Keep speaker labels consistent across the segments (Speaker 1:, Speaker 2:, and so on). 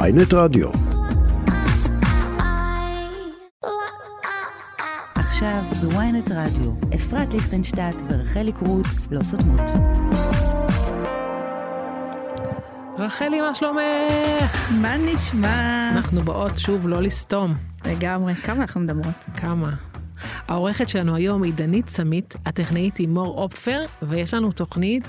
Speaker 1: ויינט רדיו.
Speaker 2: עכשיו בוויינט רדיו, אפרת ליכטנשטט ורחלי קרוט לא סותמות.
Speaker 3: רחלי, מה שלומך?
Speaker 4: מה נשמע?
Speaker 3: אנחנו באות שוב לא לסתום.
Speaker 4: לגמרי, כמה אנחנו מדברות?
Speaker 3: כמה? העורכת שלנו היום היא דנית סמית, הטכנאית היא מור אופפר, ויש לנו תוכנית,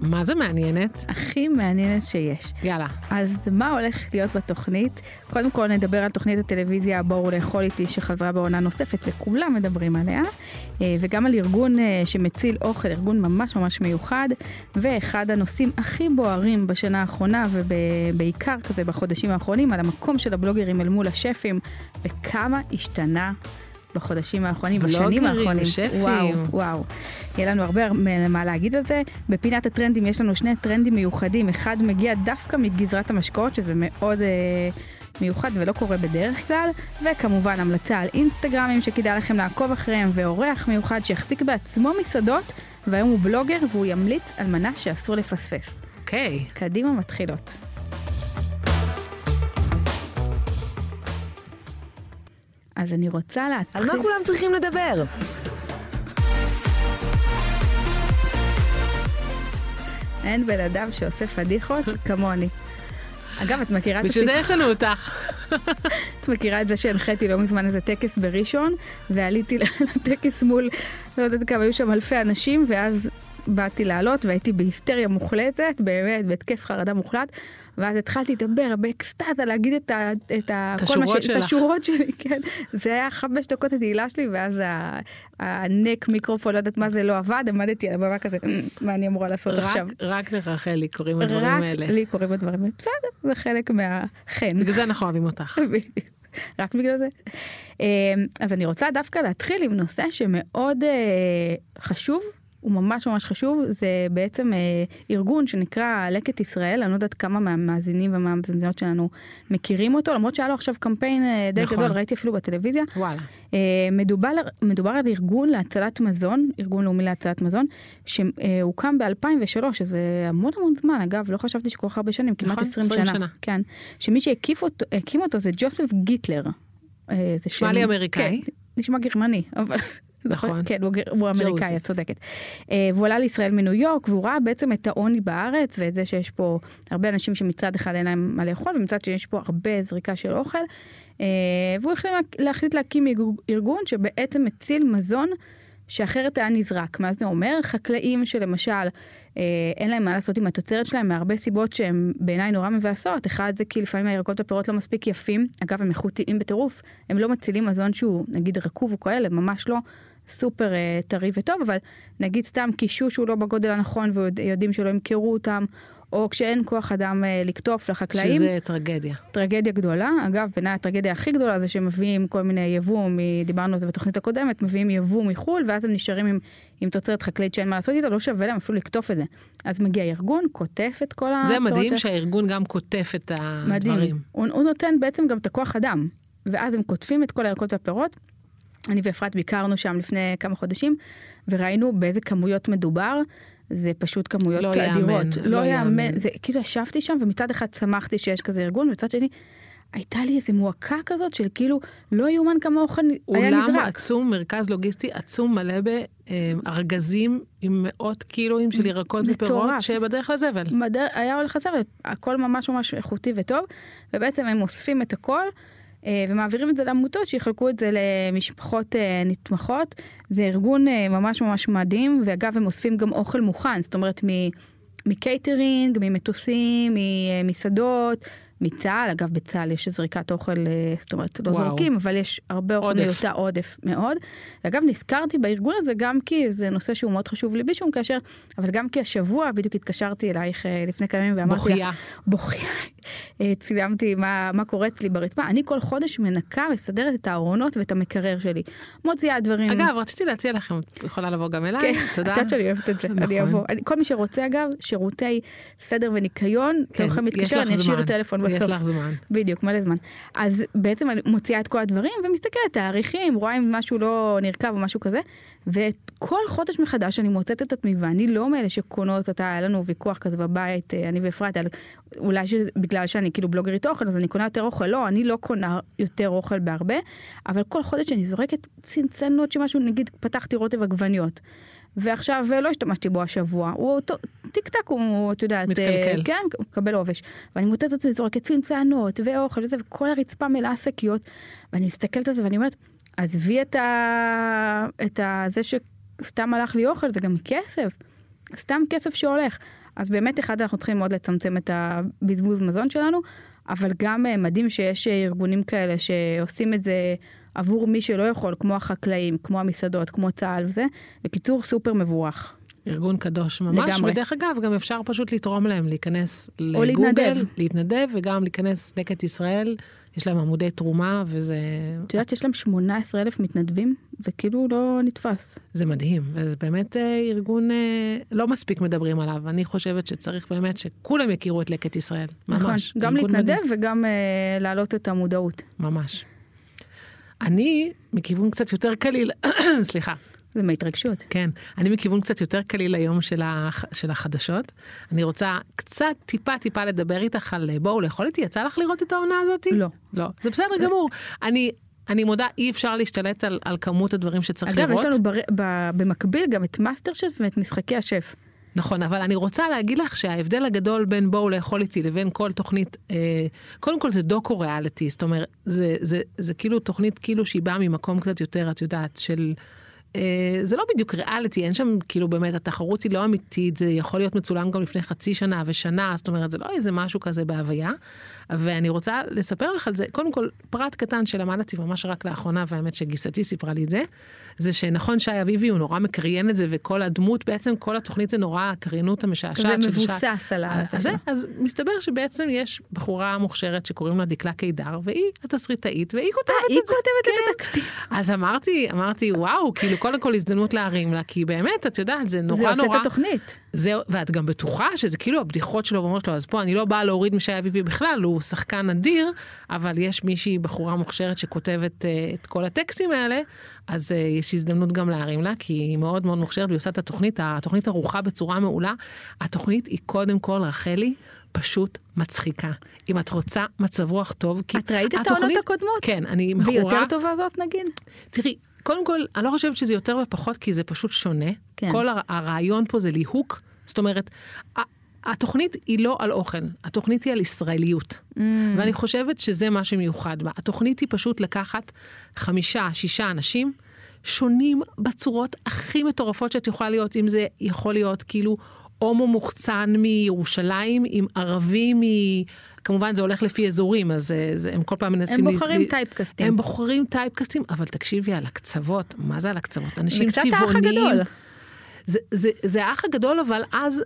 Speaker 3: מה זה מעניינת?
Speaker 4: הכי מעניינת שיש.
Speaker 3: יאללה.
Speaker 4: אז מה הולך להיות בתוכנית? קודם כל נדבר על תוכנית הטלוויזיה "בואו לאכול איתי" שחזרה בעונה נוספת וכולם מדברים עליה, אה, וגם על ארגון אה, שמציל אוכל, ארגון ממש ממש מיוחד, ואחד הנושאים הכי בוערים בשנה האחרונה ובעיקר כזה בחודשים האחרונים, על המקום של הבלוגרים אל מול השפים, וכמה השתנה. בחודשים האחרונים, בשנים
Speaker 3: בלוגרים,
Speaker 4: האחרונים.
Speaker 3: שפים.
Speaker 4: וואו, וואו. יהיה לנו הרבה מה- מה להגיד על זה. בפינת הטרנדים יש לנו שני טרנדים מיוחדים. אחד מגיע דווקא מגזרת המשקאות, שזה מאוד אה, מיוחד ולא קורה בדרך כלל. וכמובן המלצה על אינסטגרמים שכדאי לכם לעקוב אחריהם, ואורח מיוחד שהחזיק בעצמו מסעדות, והיום הוא בלוגר והוא ימליץ על מנה שאסור לפספס.
Speaker 3: אוקיי.
Speaker 4: קדימה מתחילות. אז אני רוצה להתחיל...
Speaker 5: על מה כולם צריכים לדבר?
Speaker 4: אין בן אדם שעושה פדיחות כמוני. אגב, את מכירה את
Speaker 3: בשביל זה
Speaker 4: הסיפור-
Speaker 3: יש לנו אותך.
Speaker 4: את מכירה את זה שהנחיתי לא מזמן איזה טקס בראשון, ועליתי לטקס מול, לא יודעת כמה, היו שם אלפי אנשים, ואז באתי לעלות והייתי בהיסטריה מוחלטת, באמת, בהתקף חרדה מוחלט, ואז התחלתי לדבר באקסטאזה, להגיד את ה... את ה...
Speaker 3: את
Speaker 4: כל מה
Speaker 3: השורות
Speaker 4: ש- את
Speaker 3: שלך.
Speaker 4: השורות שלי, כן. זה היה חמש דקות התהילה שלי, ואז ה- הנק מיקרופון, לא יודעת מה זה, לא עבד, עמדתי על הבמה כזה, "אמ, מה אני אמורה לעשות
Speaker 3: רק,
Speaker 4: עכשיו.
Speaker 3: רק לרחלי קוראים הדברים
Speaker 4: רק
Speaker 3: האלה.
Speaker 4: לי קוראים הדברים האלה. בסדר, זה חלק מהחן.
Speaker 3: בגלל זה אנחנו אוהבים אותך.
Speaker 4: בדיוק. רק בגלל זה. אה, אז אני רוצה דווקא להתחיל עם נושא שמאוד אה, חשוב. הוא ממש ממש חשוב, זה בעצם אה, ארגון שנקרא לקט ישראל, אני לא יודעת כמה מהמאזינים ומהמאזינות שלנו מכירים אותו, למרות שהיה לו עכשיו קמפיין אה, די
Speaker 3: נכון.
Speaker 4: גדול, ראיתי אפילו בטלוויזיה,
Speaker 3: וואלה.
Speaker 4: אה, מדובר, מדובר על ארגון להצלת מזון, ארגון לאומי להצלת מזון, אה, שהוקם ב-2003, שזה המון המון זמן, אגב, לא חשבתי שכל כך הרבה שנים, כמעט
Speaker 3: נכון,
Speaker 4: 20
Speaker 3: 20
Speaker 4: שנה.
Speaker 3: שנה.
Speaker 4: כן, שמי שהקים אותו, הקים אותו זה ג'וסף גיטלר. אה, זה
Speaker 3: נשמע
Speaker 4: שם-
Speaker 3: לי אמריקאי.
Speaker 4: כן, נשמע גרמני, אבל...
Speaker 3: נכון.
Speaker 4: כן, הוא, גר- הוא אמריקאי,
Speaker 3: ג'וזף.
Speaker 4: את צודקת. אה, והוא עלה לישראל מניו יורק, והוא ראה בעצם את העוני בארץ, ואת זה שיש פה הרבה אנשים שמצד אחד אין להם מה לאכול, ומצד שני יש פה הרבה זריקה של אוכל. אה, והוא החליט להק- להחליט להקים ארגו- ארגון שבעצם מציל מזון שאחרת היה נזרק. מה זה אומר? חקלאים שלמשל אה, אין להם מה לעשות עם התוצרת שלהם מהרבה סיבות שהן בעיניי נורא מבאסות. אחד זה כי לפעמים הירקות והפירות לא מספיק יפים, אגב הם איכותיים בטירוף, הם לא מצילים מזון שהוא נגיד רקוב או כאלה, ממש לא. סופר אה, טרי וטוב, אבל נגיד סתם קישוש הוא לא בגודל הנכון ויודעים שלא ימכרו אותם, או כשאין כוח אדם אה, לקטוף לחקלאים.
Speaker 3: שזה טרגדיה.
Speaker 4: טרגדיה גדולה, אגב בעיניי הטרגדיה הכי גדולה זה שמביאים כל מיני יבוא, מ- דיברנו על זה בתוכנית הקודמת, מביאים יבוא מחו"ל ואז הם נשארים עם, עם תוצרת חקלאית שאין מה לעשות איתה, לא שווה להם אפילו לקטוף את זה. אז מגיע ארגון, קוטף את כל ה...
Speaker 3: זה מדהים שהארגון גם קוטף את
Speaker 4: מדהים.
Speaker 3: הדברים.
Speaker 4: הוא, הוא נותן בעצם גם את הכוח אדם, ואז הם קוטפים את כל הירקות והפירות. אני ואפרת ביקרנו שם לפני כמה חודשים, וראינו באיזה כמויות מדובר. זה פשוט כמויות
Speaker 3: לא יאמן,
Speaker 4: אדירות.
Speaker 3: לא יאמן.
Speaker 4: יאמן. זה כאילו ישבתי שם, ומצד אחד שמחתי שיש כזה ארגון, ומצד שני, הייתה לי איזו מועקה כזאת של כאילו, לא יאומן כמה אוכל היה
Speaker 3: אולם
Speaker 4: נזרק.
Speaker 3: עצום, מרכז לוגיסטי עצום מלא בארגזים עם מאות קילואים של ירקות
Speaker 4: מטורף.
Speaker 3: ופירות שבדרך לזבל.
Speaker 4: מדר... היה הולך לזה, והכל ממש ממש איכותי וטוב, ובעצם הם אוספים את הכל. אה, ומעבירים את זה לעמותות שיחלקו את זה למשפחות אה, נתמכות. זה ארגון אה, ממש ממש מדהים, ואגב הם אוספים גם אוכל מוכן, זאת אומרת מ- מקייטרינג, ממטוסים, ממסעדות, מצה"ל, אגב בצה"ל יש זריקת אוכל, אה, זאת אומרת לא
Speaker 3: וואו.
Speaker 4: זורקים, אבל יש הרבה אוכל
Speaker 3: עודף.
Speaker 4: מיותר עודף מאוד. אגב נזכרתי בארגון הזה גם כי זה נושא שהוא מאוד חשוב לי בשום קשר, אבל גם כי השבוע בדיוק התקשרתי אלייך אה, לפני כמה ימים ואמרתי לך,
Speaker 3: בוכייה.
Speaker 4: בוכייה. אה, צילמתי מה, מה קורה אצלי ברצפה. אני כל חודש מנקה, מסדרת את הארונות ואת המקרר שלי. מוציאה דברים.
Speaker 3: אגב, רציתי להציע לכם, את יכולה לבוא גם
Speaker 4: כן,
Speaker 3: אליי, תודה.
Speaker 4: את יודעת שאני אוהבת את זה,
Speaker 3: נכון.
Speaker 4: אני אבוא. אני- כל מי שרוצה אגב, שירותי סדר וניקיון,
Speaker 3: כן,
Speaker 4: אתם יכולים
Speaker 3: יש
Speaker 4: להתקשר,
Speaker 3: לך
Speaker 4: אני אשאיר
Speaker 3: זמן.
Speaker 4: טלפון
Speaker 3: יש יש
Speaker 4: הסוף.
Speaker 3: לך זמן.
Speaker 4: בדיוק, מלא זמן. אז בעצם אני מוציאה את כל הדברים ומסתכלת, תאריכים, רואה אם משהו לא נרקב או משהו כזה, וכל חודש מחדש אני מוצאת את עצמי, ואני לא מאלה שקונות אותה, היה לנו ויכוח כזה בבית, אה, אני ואפרת, על אולי שבגלל שאני כאילו בלוגרית אוכל, אז אני קונה יותר אוכל. לא, אני לא קונה יותר אוכל בהרבה, אבל כל חודש אני זורקת צנצנות שמשהו, נגיד פתחתי רוטב עגבניות. ועכשיו אה, לא השתמשתי בו השבוע, הוא אותו, טיק טק הוא, את יודעת, אה,
Speaker 3: מתקלקל.
Speaker 4: כן, הוא מקבל עובש. ואני מוצאת את עצמי זורקת צנצנות ואוכל וזה, וכל הרצפה מלאה שקיות, ואני מסתכלת על זה ואני אומרת, עזבי את ה... את ה... זה שסתם הלך לי אוכל, זה גם כסף. סתם כסף שהולך. אז באמת, אחד, אנחנו צריכים מאוד לצמצם את הבזבוז מזון שלנו, אבל גם אה, מדהים שיש אה, ארגונים כאלה שעושים את זה עבור מי שלא יכול, כמו החקלאים, כמו המסעדות, כמו צה"ל וזה. בקיצור, סופר מבורך.
Speaker 3: ארגון קדוש ממש,
Speaker 4: לגמרי.
Speaker 3: ודרך אגב, גם אפשר פשוט לתרום להם, להיכנס לגוגל,
Speaker 4: להתנדב.
Speaker 3: להתנדב, וגם להיכנס לקט ישראל, יש להם עמודי תרומה, וזה
Speaker 4: את יודעת שיש להם 18 אלף מתנדבים? זה כאילו לא נתפס.
Speaker 3: זה מדהים, וזה באמת אה, ארגון אה, לא מספיק מדברים עליו, אני חושבת שצריך באמת שכולם יכירו את לקט ישראל, ממש.
Speaker 4: נכון, גם
Speaker 3: ארגון מדהים.
Speaker 4: להתנדב וגם אה, להעלות את המודעות.
Speaker 3: ממש. אני, מכיוון קצת יותר קליל, סליחה,
Speaker 4: זה מהתרגשות.
Speaker 3: כן, אני מכיוון קצת יותר קליל היום של, הח... של החדשות. אני רוצה קצת, טיפה טיפה לדבר איתך על אה, בואו לאכול איתי, יצא לך לראות את העונה הזאת?
Speaker 4: לא.
Speaker 3: לא, זה בסדר גמור. אני, אני מודה, אי אפשר להשתלט על, על כמות הדברים שצריך
Speaker 4: אגב,
Speaker 3: לראות.
Speaker 4: יש לנו בר... ב... במקביל גם את מאסטר שף ואת משחקי השף.
Speaker 3: נכון, אבל אני רוצה להגיד לך שההבדל הגדול בין בואו לאכול איתי לבין כל תוכנית, אה, קודם כל זה דוקו ריאליטי, זאת אומרת, זה, זה, זה כאילו תוכנית כאילו שהיא באה ממקום קצת יותר, את יודעת, של... אה, זה לא בדיוק ריאליטי, אין שם כאילו באמת, התחרות היא לא אמיתית, זה יכול להיות מצולם גם לפני חצי שנה ושנה, זאת אומרת, זה לא איזה משהו כזה בהוויה. ואני רוצה לספר לך על זה, קודם כל, פרט קטן שלמדתי ממש רק לאחרונה, והאמת שגיסתי סיפרה לי את זה, זה שנכון שי אביבי הוא נורא מקריין את זה, וכל הדמות בעצם, כל התוכנית זה נורא הקריינות המשעשעת של
Speaker 4: זה
Speaker 3: שי.
Speaker 4: מבוסס על ה...
Speaker 3: אה,
Speaker 4: אה,
Speaker 3: אז, זה- אז מסתבר שבעצם יש בחורה מוכשרת שקוראים לה דקלה קידר, והיא התסריטאית, והיא
Speaker 4: אה,
Speaker 3: כותבת
Speaker 4: היא
Speaker 3: את זה.
Speaker 4: כותבת
Speaker 3: כן.
Speaker 4: את התקציב.
Speaker 3: אז אמרתי, אמרתי, וואו, כאילו קודם כל הזדמנות להרים לה, כי באמת, את יודעת, זה נורא
Speaker 4: זה
Speaker 3: נורא...
Speaker 4: עושה את התוכנית.
Speaker 3: זהו, ואת גם בטוחה שזה כאילו הבדיחות שלו ואומרות לו, אז פה אני לא באה להוריד משי אביבי בכלל, הוא שחקן אדיר, אבל יש מישהי, בחורה מוכשרת שכותבת uh, את כל הטקסטים האלה, אז uh, יש הזדמנות גם להרים לה, כי היא מאוד מאוד מוכשרת, והיא עושה את התוכנית, התוכנית ערוכה בצורה מעולה. התוכנית היא קודם כל, רחלי, פשוט מצחיקה. אם את רוצה מצב רוח טוב, כי
Speaker 4: את ראית את העונות
Speaker 3: התוכנית-
Speaker 4: הקודמות?
Speaker 3: כן, אני
Speaker 4: והיא
Speaker 3: מכורה.
Speaker 4: יותר טובה זאת נגיד?
Speaker 3: תראי, קודם כל, אני לא חושבת שזה יותר ופחות, כי זה פשוט שונה.
Speaker 4: כן.
Speaker 3: כל הר- הרעיון פה זה ליהוק. זאת אומרת, ה- התוכנית היא לא על אוכל, התוכנית היא על ישראליות.
Speaker 4: Mm.
Speaker 3: ואני חושבת שזה מה שמיוחד בה. התוכנית היא פשוט לקחת חמישה, שישה אנשים. שונים בצורות הכי מטורפות שאת יכולה להיות, אם זה יכול להיות כאילו הומו מוחצן מירושלים, עם ערבי מ... כמובן זה הולך לפי אזורים, אז אה, זה, הם כל פעם
Speaker 4: הם
Speaker 3: מנסים... להת-
Speaker 4: בוחרים טייפקסטים.
Speaker 3: הם בוחרים טייפקסטים, אבל תקשיבי, על הקצוות, מה זה על הקצוות?
Speaker 4: זה
Speaker 3: אנשים
Speaker 4: קצת
Speaker 3: צבעוניים.
Speaker 4: האח הגדול.
Speaker 3: זה, זה, זה האח הגדול, אבל אז...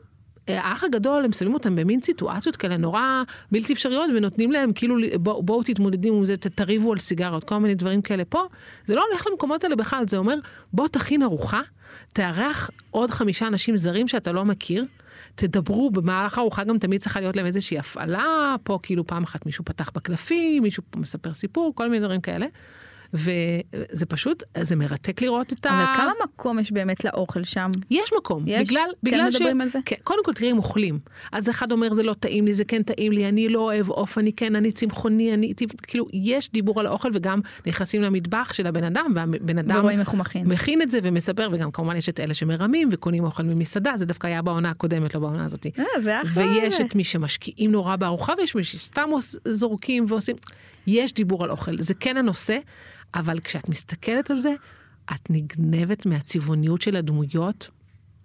Speaker 3: אה, האח הגדול, הם שמים אותם במין סיטואציות כאלה נורא בלתי אפשריות, ונותנים להם כאילו, ל- בוא, בואו תתמודדו עם זה, ת- תריבו על סיגריות, כל מיני דברים כאלה. פה, זה לא הולך למקומות האלה בכלל, זה אומר, בוא תכין ארוחה, תארח עוד חמישה אנשים זרים שאתה לא מכיר, תדברו, במהלך הארוחה גם תמיד צריכה להיות להם איזושהי הפעלה, פה כאילו פעם אחת מישהו פתח בקלפים, מישהו פה מספר סיפור, כל מיני דברים כאלה. וזה פשוט, זה מרתק לראות את ה...
Speaker 4: אבל כמה מקום יש באמת לאוכל שם?
Speaker 3: יש מקום.
Speaker 4: יש?
Speaker 3: בגלל,
Speaker 4: כן
Speaker 3: בגלל
Speaker 4: מדברים על זה?
Speaker 3: כן, קודם כל תראי אם אוכלים. אז אחד אומר זה לא טעים לי, זה כן טעים לי, אני לא אוהב עוף, אני כן, אני צמחוני, אני... טיפ-" כאילו, יש דיבור על האוכל וגם נכנסים למטבח של הבן אדם, והבן אדם
Speaker 4: ורואים איך הוא מכין.
Speaker 3: מכין את זה ומספר, וגם כמובן יש את אלה שמרמים וקונים אוכל ממסעדה, זה דווקא היה בעונה הקודמת, לא בעונה הזאת.
Speaker 4: אה, זה אחלה.
Speaker 3: ויש
Speaker 4: זה.
Speaker 3: את מי שמשקיעים נורא בארוחה ויש מי שסתם עוש- זורקים ועושים. יש דיבור על אוכל, זה כן הנושא, אבל כשאת מסתכלת על זה, את נגנבת מהצבעוניות של הדמויות.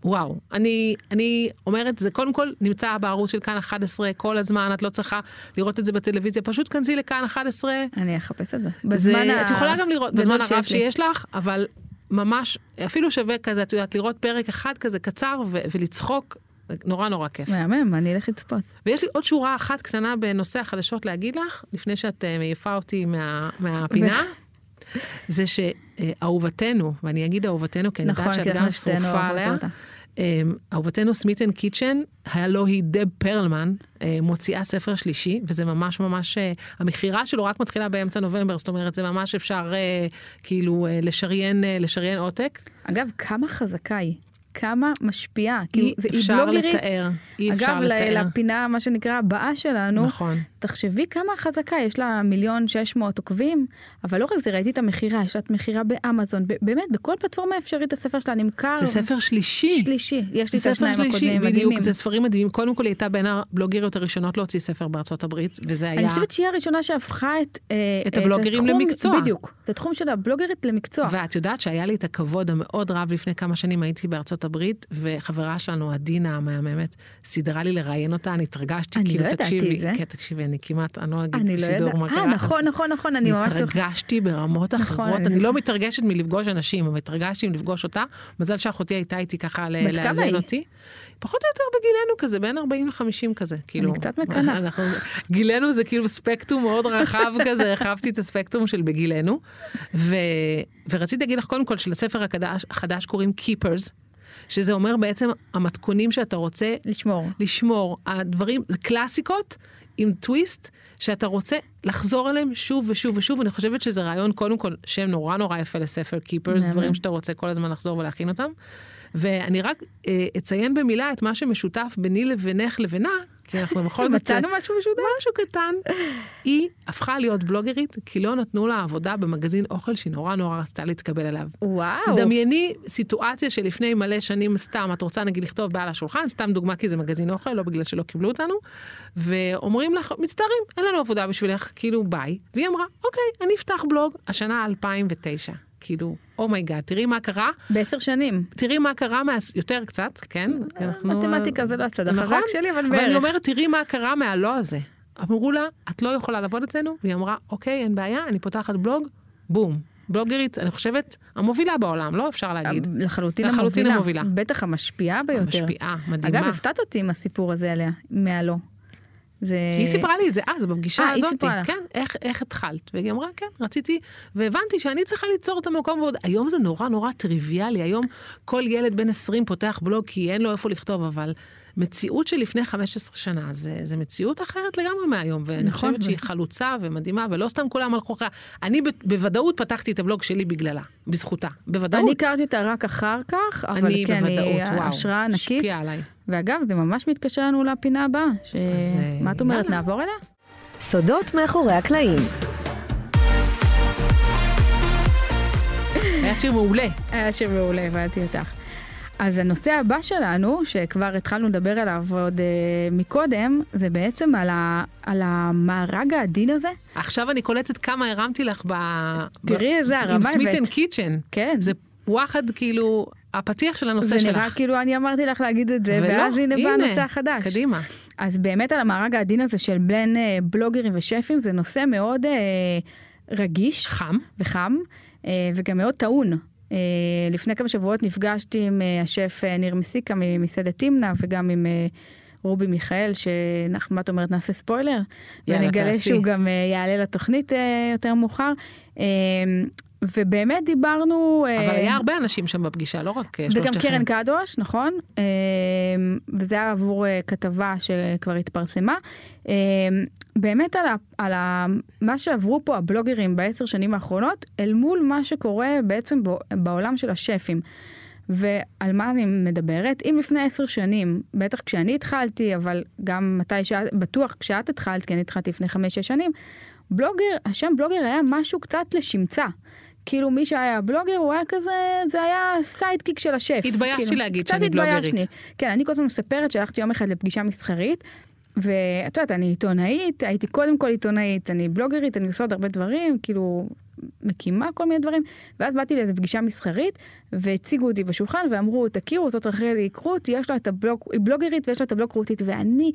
Speaker 3: וואו, אני, אני אומרת, זה קודם כל נמצא בערוץ של כאן 11 כל הזמן, את לא צריכה לראות את זה בטלוויזיה, פשוט כנסי לכאן 11.
Speaker 4: אני אחפש את זה. בזמן
Speaker 3: בזמן
Speaker 4: ה...
Speaker 3: את יכולה גם לראות בזמן
Speaker 4: גדול
Speaker 3: הרב
Speaker 4: שיש לי.
Speaker 3: שיש לך, אבל ממש, אפילו שווה כזה, את יודעת, לראות פרק אחד כזה קצר ו- ולצחוק, זה נורא נורא כיף.
Speaker 4: מהמם, אני אלך לצפות.
Speaker 3: ויש לי עוד שורה אחת קטנה בנושא החדשות להגיד לך, לפני שאת אה, מעיפה אותי מה, מהפינה, זה שאהובתנו, ואני אגיד אהובתנו, כי אני
Speaker 4: נכון,
Speaker 3: יודעת
Speaker 4: כי
Speaker 3: שאת
Speaker 4: אנחנו
Speaker 3: גם
Speaker 4: שתינו
Speaker 3: שרופה
Speaker 4: אוהבות
Speaker 3: עליה,
Speaker 4: אותה.
Speaker 3: אמ, אהובתנו סמית'ן קיצ'ן, הלא היא דב פרלמן, אה, מוציאה ספר שלישי, וזה ממש ממש, אה, המכירה שלו רק מתחילה באמצע נובמבר, זאת אומרת, זה ממש אפשר אה, כאילו אה, לשריין, אה, לשריין עותק.
Speaker 4: אגב, כמה חזקה היא, כמה משפיעה, כאילו,
Speaker 3: אי
Speaker 4: זה- היא
Speaker 3: אפשר
Speaker 4: בלוגרית.
Speaker 3: לתאר, אי אפשר
Speaker 4: אגב, ל-
Speaker 3: לתאר.
Speaker 4: לפינה, מה שנקרא, הבאה שלנו,
Speaker 3: נכון.
Speaker 4: תחשבי כמה חזקה, יש לה מיליון שש מאות עוקבים, אבל לא רק זה, ראיתי את המכירה, יש לה את מכירה באמזון, ב- באמת, בכל פלטפורמה אפשרית הספר שלה נמכר.
Speaker 3: זה ספר שלישי.
Speaker 4: שלישי, יש לי את
Speaker 3: זה ספר
Speaker 4: השניים
Speaker 3: שלישי,
Speaker 4: הקודמים,
Speaker 3: בדיוק,
Speaker 4: מדהימים.
Speaker 3: זה ספרים מדהימים. קודם כל היא הייתה בין הבלוגריות הראשונות להוציא ספר בארצות הברית, וזה היה...
Speaker 4: אני חושבת שהיא הראשונה שהפכה את... אה,
Speaker 3: את הבלוגרים
Speaker 4: התחום-
Speaker 3: למקצוע.
Speaker 4: בדיוק, את התחום של הבלוגרית למקצוע.
Speaker 3: ואת יודעת שהיה לי את הכבוד המאוד רב לפני כמה שנים הייתי בארצות הברית, וחברה שלנו, עדינה המהממת, סידרה לי לראיין אותה, אני התרגשתי,
Speaker 4: אני
Speaker 3: כאילו,
Speaker 4: לא ידעתי
Speaker 3: תקשיבי,
Speaker 4: את זה.
Speaker 3: כן, תקשיבי, אני כמעט, אני לא אגיד
Speaker 4: אני לא
Speaker 3: בשידור
Speaker 4: יודעת.
Speaker 3: מה
Speaker 4: אה,
Speaker 3: קרה.
Speaker 4: נכון, נכון, נכון, אני ממש... זוכרת.
Speaker 3: התרגשתי ברמות
Speaker 4: נכון,
Speaker 3: אחרות,
Speaker 4: אני
Speaker 3: אני לא
Speaker 4: זוכרת.
Speaker 3: מתרגשת מלפגוש אנשים, אבל התרגשתי מלפגוש אותה. מזל שאחותי הייתה איתי ככה ל-
Speaker 4: בת כמה
Speaker 3: לאזן
Speaker 4: היא?
Speaker 3: אותי. פחות או יותר בגילנו כזה, בין 40 ל-50 כזה, כאילו.
Speaker 4: קצת מקנאה.
Speaker 3: אנחנו- גילנו זה כאילו ספקטרום מאוד רחב כזה, הרחבתי את הספקטרום של בגילנו. ו... ורציתי להגיד לך קודם כל שלספר החדש, החדש קוראים Keepers, שזה אומר בעצם המתכונים שאתה רוצה
Speaker 4: לשמור.
Speaker 3: לשמור. הדברים, זה קלאסיקות עם טוויסט שאתה רוצה לחזור אליהם שוב ושוב ושוב. אני חושבת שזה רעיון, קודם כל, שם נורא נורא יפה לספר קיפרס,
Speaker 4: מהמם.
Speaker 3: דברים שאתה רוצה כל הזמן לחזור ולהכין אותם. ואני רק אה, אציין במילה את מה שמשותף ביני לבינך לבינה, כי אנחנו בכל זאת... אה,
Speaker 4: מצאנו משהו משותף?
Speaker 3: משהו קטן. היא הפכה להיות בלוגרית, כי לא נתנו לה עבודה במגזין אוכל שהיא נורא נורא רצתה להתקבל אליו.
Speaker 4: וואו.
Speaker 3: תדמייני סיטואציה שלפני מלא שנים סתם, את רוצה נגיד לכתוב בעל השולחן, סתם דוגמה כי זה מגזין אוכל, לא בגלל שלא קיבלו אותנו, ואומרים לך, מצטערים, אין לנו עבודה בשבילך, כאילו ביי. והיא אמרה, אוקיי, אני אפתח בלוג, השנה 2009. כאילו, אומייגאד, תראי מה קרה,
Speaker 4: בעשר שנים.
Speaker 3: תראי מה קרה, מה... יותר קצת, כן? כי אנחנו-
Speaker 4: מתמטיקה זה לא הצד
Speaker 3: נכון?
Speaker 4: החזק שלי, אבל
Speaker 3: אבל אני
Speaker 4: בערך.
Speaker 3: אומרת, תראי מה קרה מהלא הזה. אמרו לה, את לא יכולה לעבוד אצלנו, והיא אמרה, אוקיי, אין בעיה, אני פותחת בלוג, בום. בלוגרית, אני חושבת, המובילה בעולם, לא אפשר להגיד.
Speaker 4: לחלוטין
Speaker 3: לחלוטין
Speaker 4: המובילה.
Speaker 3: המובילה.
Speaker 4: בטח המשפיעה ביותר.
Speaker 3: משפיעה, מדהימה.
Speaker 4: אגב, הפתעת אותי עם הסיפור הזה עליה, מהלא. זה...
Speaker 3: היא סיפרה לי את זה אז, בפגישה
Speaker 4: אה, היא
Speaker 3: הזאת,
Speaker 4: סיפרה לך.
Speaker 3: כן, איך, איך התחלת? והיא אמרה, כן, רציתי, והבנתי שאני צריכה ליצור את המקום, ועוד היום זה נורא נורא טריוויאלי, היום כל ילד בן 20 פותח בלוג כי אין לו איפה לכתוב, אבל מציאות שלפני 15 שנה, זה, זה מציאות אחרת לגמרי מהיום, ואני
Speaker 4: נכון,
Speaker 3: חושבת
Speaker 4: ו-
Speaker 3: שהיא חלוצה ומדהימה, ולא סתם כולם הלכו אחריה. אני ב, בוודאות פתחתי את הבלוג שלי בגללה, בזכותה, בוודאות.
Speaker 4: אני הכרתי אותה רק אחר כך, אבל
Speaker 3: אני
Speaker 4: כן,
Speaker 3: בוודאות,
Speaker 4: היא
Speaker 3: וואו,
Speaker 4: השראה ענקית.
Speaker 3: השפיעה עליי.
Speaker 4: ואגב, זה ממש מתקשר לנו לפינה הבאה. ש-
Speaker 3: אה,
Speaker 4: מה את אומרת,
Speaker 3: יאללה.
Speaker 4: נעבור אליה?
Speaker 1: סודות מאחורי הקלעים.
Speaker 3: היה שיר מעולה.
Speaker 4: היה אה, שמעולה, הבנתי אותך. אז הנושא הבא שלנו, שכבר התחלנו לדבר עליו עוד אה, מקודם, זה בעצם על, ה, על המארג העדין הזה.
Speaker 3: עכשיו אני קולטת כמה הרמתי לך ב...
Speaker 4: תראי איזה הרמה
Speaker 3: עם
Speaker 4: הבאת.
Speaker 3: סמית'ן קיצ'ן.
Speaker 4: כן,
Speaker 3: זה וואחד כאילו הפתיח של הנושא
Speaker 4: זה
Speaker 3: שלך.
Speaker 4: נראה כאילו אני אמרתי לך להגיד את זה,
Speaker 3: ולא,
Speaker 4: ואז הנה בא
Speaker 3: הנה,
Speaker 4: הנושא החדש.
Speaker 3: קדימה.
Speaker 4: אז באמת על המארג העדין הזה של בין אה, בלוגרים ושפים, זה נושא מאוד אה, רגיש.
Speaker 3: חם.
Speaker 4: וחם, אה, וגם מאוד טעון. אה, לפני כמה שבועות נפגשתי עם אה, השף אה, ניר מסיקה ממסעדת תמנה, וגם עם אה, רובי מיכאל, שאנחנו, מה את אומרת, נעשה ספוילר?
Speaker 3: יאללה,
Speaker 4: ונגלה
Speaker 3: תעשי.
Speaker 4: שהוא גם אה, יעלה לתוכנית אה, יותר מאוחר. אה, ובאמת דיברנו... אה,
Speaker 3: אבל היה הרבה אנשים שם בפגישה, לא רק אה,
Speaker 4: וגם
Speaker 3: שלושתכם.
Speaker 4: קרן קדוש, נכון? אה, וזה היה עבור אה, כתבה שכבר התפרסמה. אה, באמת על, ה, על ה, מה שעברו פה הבלוגרים בעשר שנים האחרונות, אל מול מה שקורה בעצם בו- בעולם של השפים. ועל מה אני מדברת? אם לפני עשר שנים, בטח כשאני התחלתי, אבל גם מתי שאת, בטוח כשאת התחלת, כי אני התחלתי לפני חמש-שש שנים, בלוגר, השם בלוגר היה משהו קצת לשמצה. כאילו מי שהיה בלוגר הוא היה כזה, זה היה סיידקיק של השף.
Speaker 3: התביישתי
Speaker 4: כאילו,
Speaker 3: להגיד
Speaker 4: קצת
Speaker 3: שאני בלוגרית.
Speaker 4: התביישתי. כן, אני כל הזמן מספרת שהלכתי יום אחד לפגישה מסחרית, ואת יודעת, אני עיתונאית, הייתי קודם כל עיתונאית, אני בלוגרית, אני עושה עוד הרבה דברים, כאילו, מקימה כל מיני דברים, ואז באתי לאיזו פגישה מסחרית, והציגו אותי בשולחן, ואמרו, תכירו, זאת רחלי קרוט, יש לה את הבלוג, היא בלוגרית ויש לה את הבלוג קרוטית, ואני...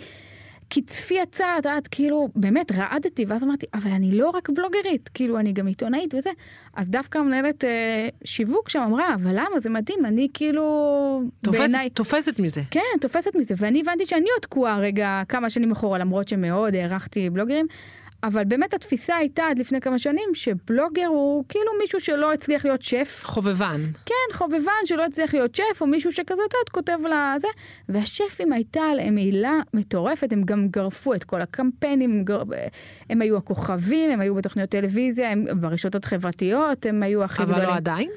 Speaker 4: קצפי יצא, את יודעת, כאילו, באמת רעדתי, ואז אמרתי, אבל אני לא רק בלוגרית, כאילו, אני גם עיתונאית וזה. אז דווקא המנהלת אה, שיווק שם אמרה, אבל למה, זה מדהים, אני כאילו,
Speaker 3: תופס-
Speaker 4: בעיניי...
Speaker 3: תופסת מזה.
Speaker 4: כן, תופסת מזה, ואני הבנתי שאני עוד תקועה רגע כמה שנים אחורה, למרות שמאוד הערכתי בלוגרים, אבל באמת התפיסה הייתה עד לפני כמה שנים שבלוגר הוא כאילו מישהו שלא הצליח להיות שף.
Speaker 3: חובבן.
Speaker 4: כן, חובבן שלא הצליח להיות שף, או מישהו שכזה, את יודעת, כותב לה זה. והשפים הייתה עליהם מילה מטורפת, הם גם גרפו את כל הקמפיינים, הם, גר... הם היו הכוכבים, הם היו בתוכניות טלוויזיה, הם ברשתות חברתיות, הם היו הכי
Speaker 3: אבל
Speaker 4: גדולים.
Speaker 3: לא עדיין.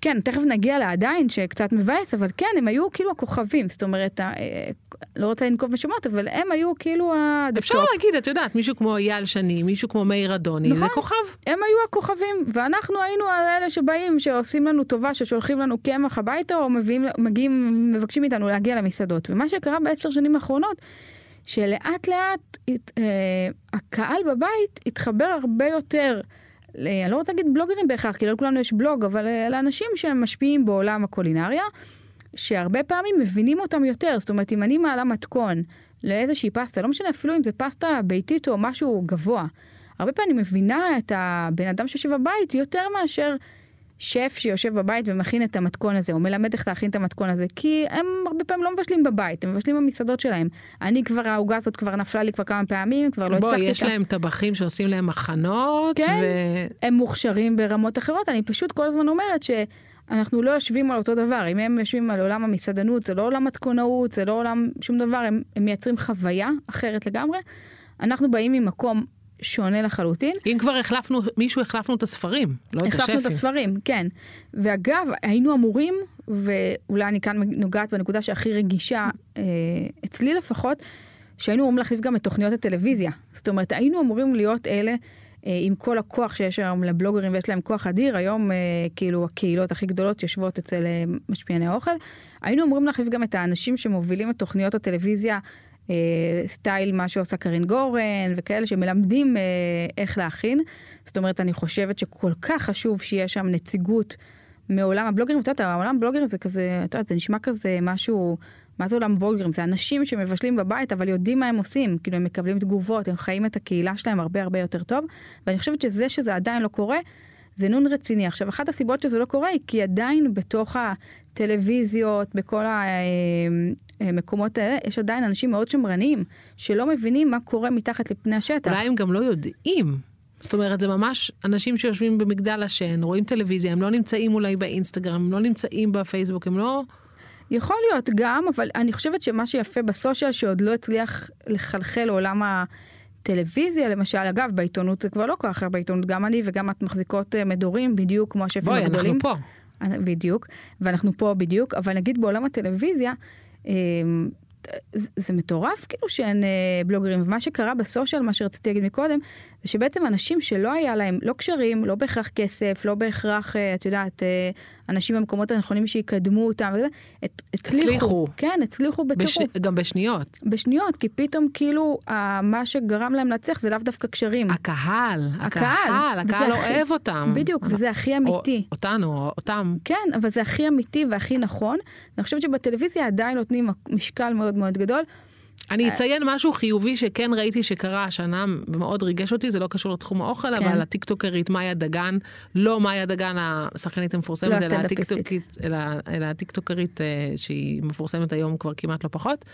Speaker 4: כן, תכף נגיע לעדיין, שקצת מבאס, אבל כן, הם היו כאילו הכוכבים, זאת אומרת, ה- אה, לא רוצה לנקוב בשמות, אבל הם היו כאילו
Speaker 3: אפשר
Speaker 4: הדפטופ.
Speaker 3: להגיד, את יודעת, מישהו כמו אייל שני, מישהו כמו מאיר אדוני, זה
Speaker 4: נכון.
Speaker 3: כוכב.
Speaker 4: הם היו הכוכבים, ואנחנו היינו האלה שבאים, שעושים לנו טובה, ששולחים לנו קמח הביתה, או מביאים, מגיעים, מבקשים מאיתנו להגיע למסעדות. ומה שקרה בעשר שנים האחרונות, שלאט לאט הת, אה, הקהל בבית התחבר הרבה יותר, ל- אני לא רוצה להגיד בלוגרים בהכרח, כי לא לכולנו יש בלוג, אבל אה, לאנשים שהם משפיעים בעולם הקולינריה, שהרבה פעמים מבינים אותם יותר. זאת אומרת, אם אני מעלה מתכון לאיזושהי פסטה, לא משנה אפילו אם זה פסטה ביתית או משהו גבוה, הרבה פעמים אני מבינה את הבן אדם שיושב בבית יותר מאשר שף שיושב בבית ומכין את המתכון הזה, או מלמד איך להכין את המתכון הזה, כי הם הרבה פעמים לא מבשלים בבית, הם מבשלים במסעדות שלהם. אני כבר, העוגה הזאת כבר נפלה לי כבר כמה פעמים, כבר לא
Speaker 3: בואי,
Speaker 4: הצלחתי
Speaker 3: יש
Speaker 4: איתה.
Speaker 3: להם טבחים שעושים להם מחנות,
Speaker 4: כן.
Speaker 3: ו-
Speaker 4: הם מוכשרים ברמות אחרות, אני פשוט כל הזמן אומרת שאנחנו לא יושבים על אותו דבר, אם הם יושבים על עולם המסעדנות, זה לא עולם מתכונאות, זה לא עולם שום דבר, הם, הם מייצרים חוויה אחרת לגמרי. אנחנו באים ממקום שונה לחלוטין.
Speaker 3: אם כבר החלפנו, מישהו החלפנו את הספרים, לא את
Speaker 4: החלפנו
Speaker 3: השפים.
Speaker 4: את הספרים, כן. ואגב, היינו אמורים, ואולי אני כאן נוגעת בנקודה שהכי רגישה, אה, אצלי לפחות, שהיינו אמורים להחליף גם את תוכניות הטלוויזיה. זאת אומרת, היינו אמורים להיות אלה, אה, עם כל הכוח שיש היום לבלוגרים ויש להם כוח אדיר, היום אה, כאילו הקהילות הכי גדולות יושבות אצל אה, משפיעני האוכל, היינו אמורים להחליף גם את האנשים שמובילים את תוכניות הטלוויזיה. אה, סטייל מה שעושה קרין גורן וכאלה שמלמדים אה, איך להכין. זאת אומרת, אני חושבת שכל כך חשוב שיהיה שם נציגות מעולם הבלוגרים. את יודעת, העולם הבלוגרים זה כזה, את יודעת, זה נשמע כזה משהו, מה זה עולם הבלוגרים? זה אנשים שמבשלים בבית אבל יודעים מה הם עושים. כאילו, הם מקבלים תגובות, הם חיים את הקהילה שלהם הרבה הרבה יותר טוב. ואני חושבת שזה שזה עדיין לא קורה, זה נון רציני. עכשיו, אחת הסיבות שזה לא קורה היא כי עדיין בתוך הטלוויזיות, בכל המקומות האלה, יש עדיין אנשים מאוד שמרניים, שלא מבינים מה קורה מתחת לפני השטח.
Speaker 3: אולי הם גם לא יודעים. זאת אומרת, זה ממש אנשים שיושבים במגדל השן, רואים טלוויזיה, הם לא נמצאים אולי באינסטגרם, הם לא נמצאים בפייסבוק, הם לא...
Speaker 4: יכול להיות גם, אבל אני חושבת שמה שיפה בסושיאל שעוד לא הצליח לחלחל לעולם הטלוויזיה, למשל, אגב, בעיתונות זה כבר לא כל כך הרבה בעיתונות, גם אני וגם את מחזיקות אה, מדורים, בדיוק כמו השפים
Speaker 3: בואי, אנחנו
Speaker 4: הגדולים.
Speaker 3: פה.
Speaker 4: אנחנו פה. בדיוק, ואנחנו פה בדיוק, אבל נגיד בעולם הטלוויזיה, אה, זה- זה מטורף כאילו שאין אה, בלוגרים, ומה שקרה בסושיאל, מה שרציתי להגיד מקודם, זה שבעצם אנשים שלא היה להם לא קשרים, לא בהכרח כסף, לא בהכרח, אה, את יודעת, אה, אנשים במקומות הנכונים שיקדמו אותם, וזה, את- הצליחו,
Speaker 3: הצליחו.
Speaker 4: כן, הצליחו
Speaker 3: בש...
Speaker 4: בטירוף.
Speaker 3: גם בשניות.
Speaker 4: בשניות, כי פתאום כאילו ה- מה שגרם להם להצליח זה לאו דווקא קשרים.
Speaker 3: הקהל,
Speaker 4: Mm. הקהל,
Speaker 3: הקהל, הקהל
Speaker 4: וזה הכי-
Speaker 3: אוהב אותם.
Speaker 4: בדיוק, וזה הכי
Speaker 3: אה, או-
Speaker 4: אמיתי.
Speaker 3: אותנו, או אותם.
Speaker 4: כן, אבל זה הכי אמיתי והכי נכון. אני חושבת שבטלוויזיה עדיין נותנים משקל מאוד מאוד גדול. אה.
Speaker 3: אני אציין משהו חיובי שכן ראיתי שקרה השנה ומאוד ריגש אותי, זה לא קשור לתחום האוכל,
Speaker 4: כן.
Speaker 3: אבל הטיקטוקרית מאיה דגן, לא מאיה דגן השחקנית
Speaker 4: לא
Speaker 3: המפורסמת, אלא
Speaker 4: הסטנדאפיסטית.
Speaker 3: הטיקטוקית- אלא אלא הטיקטוקרית אה, שהיא מפורסמת היום כבר כמעט לא פחות,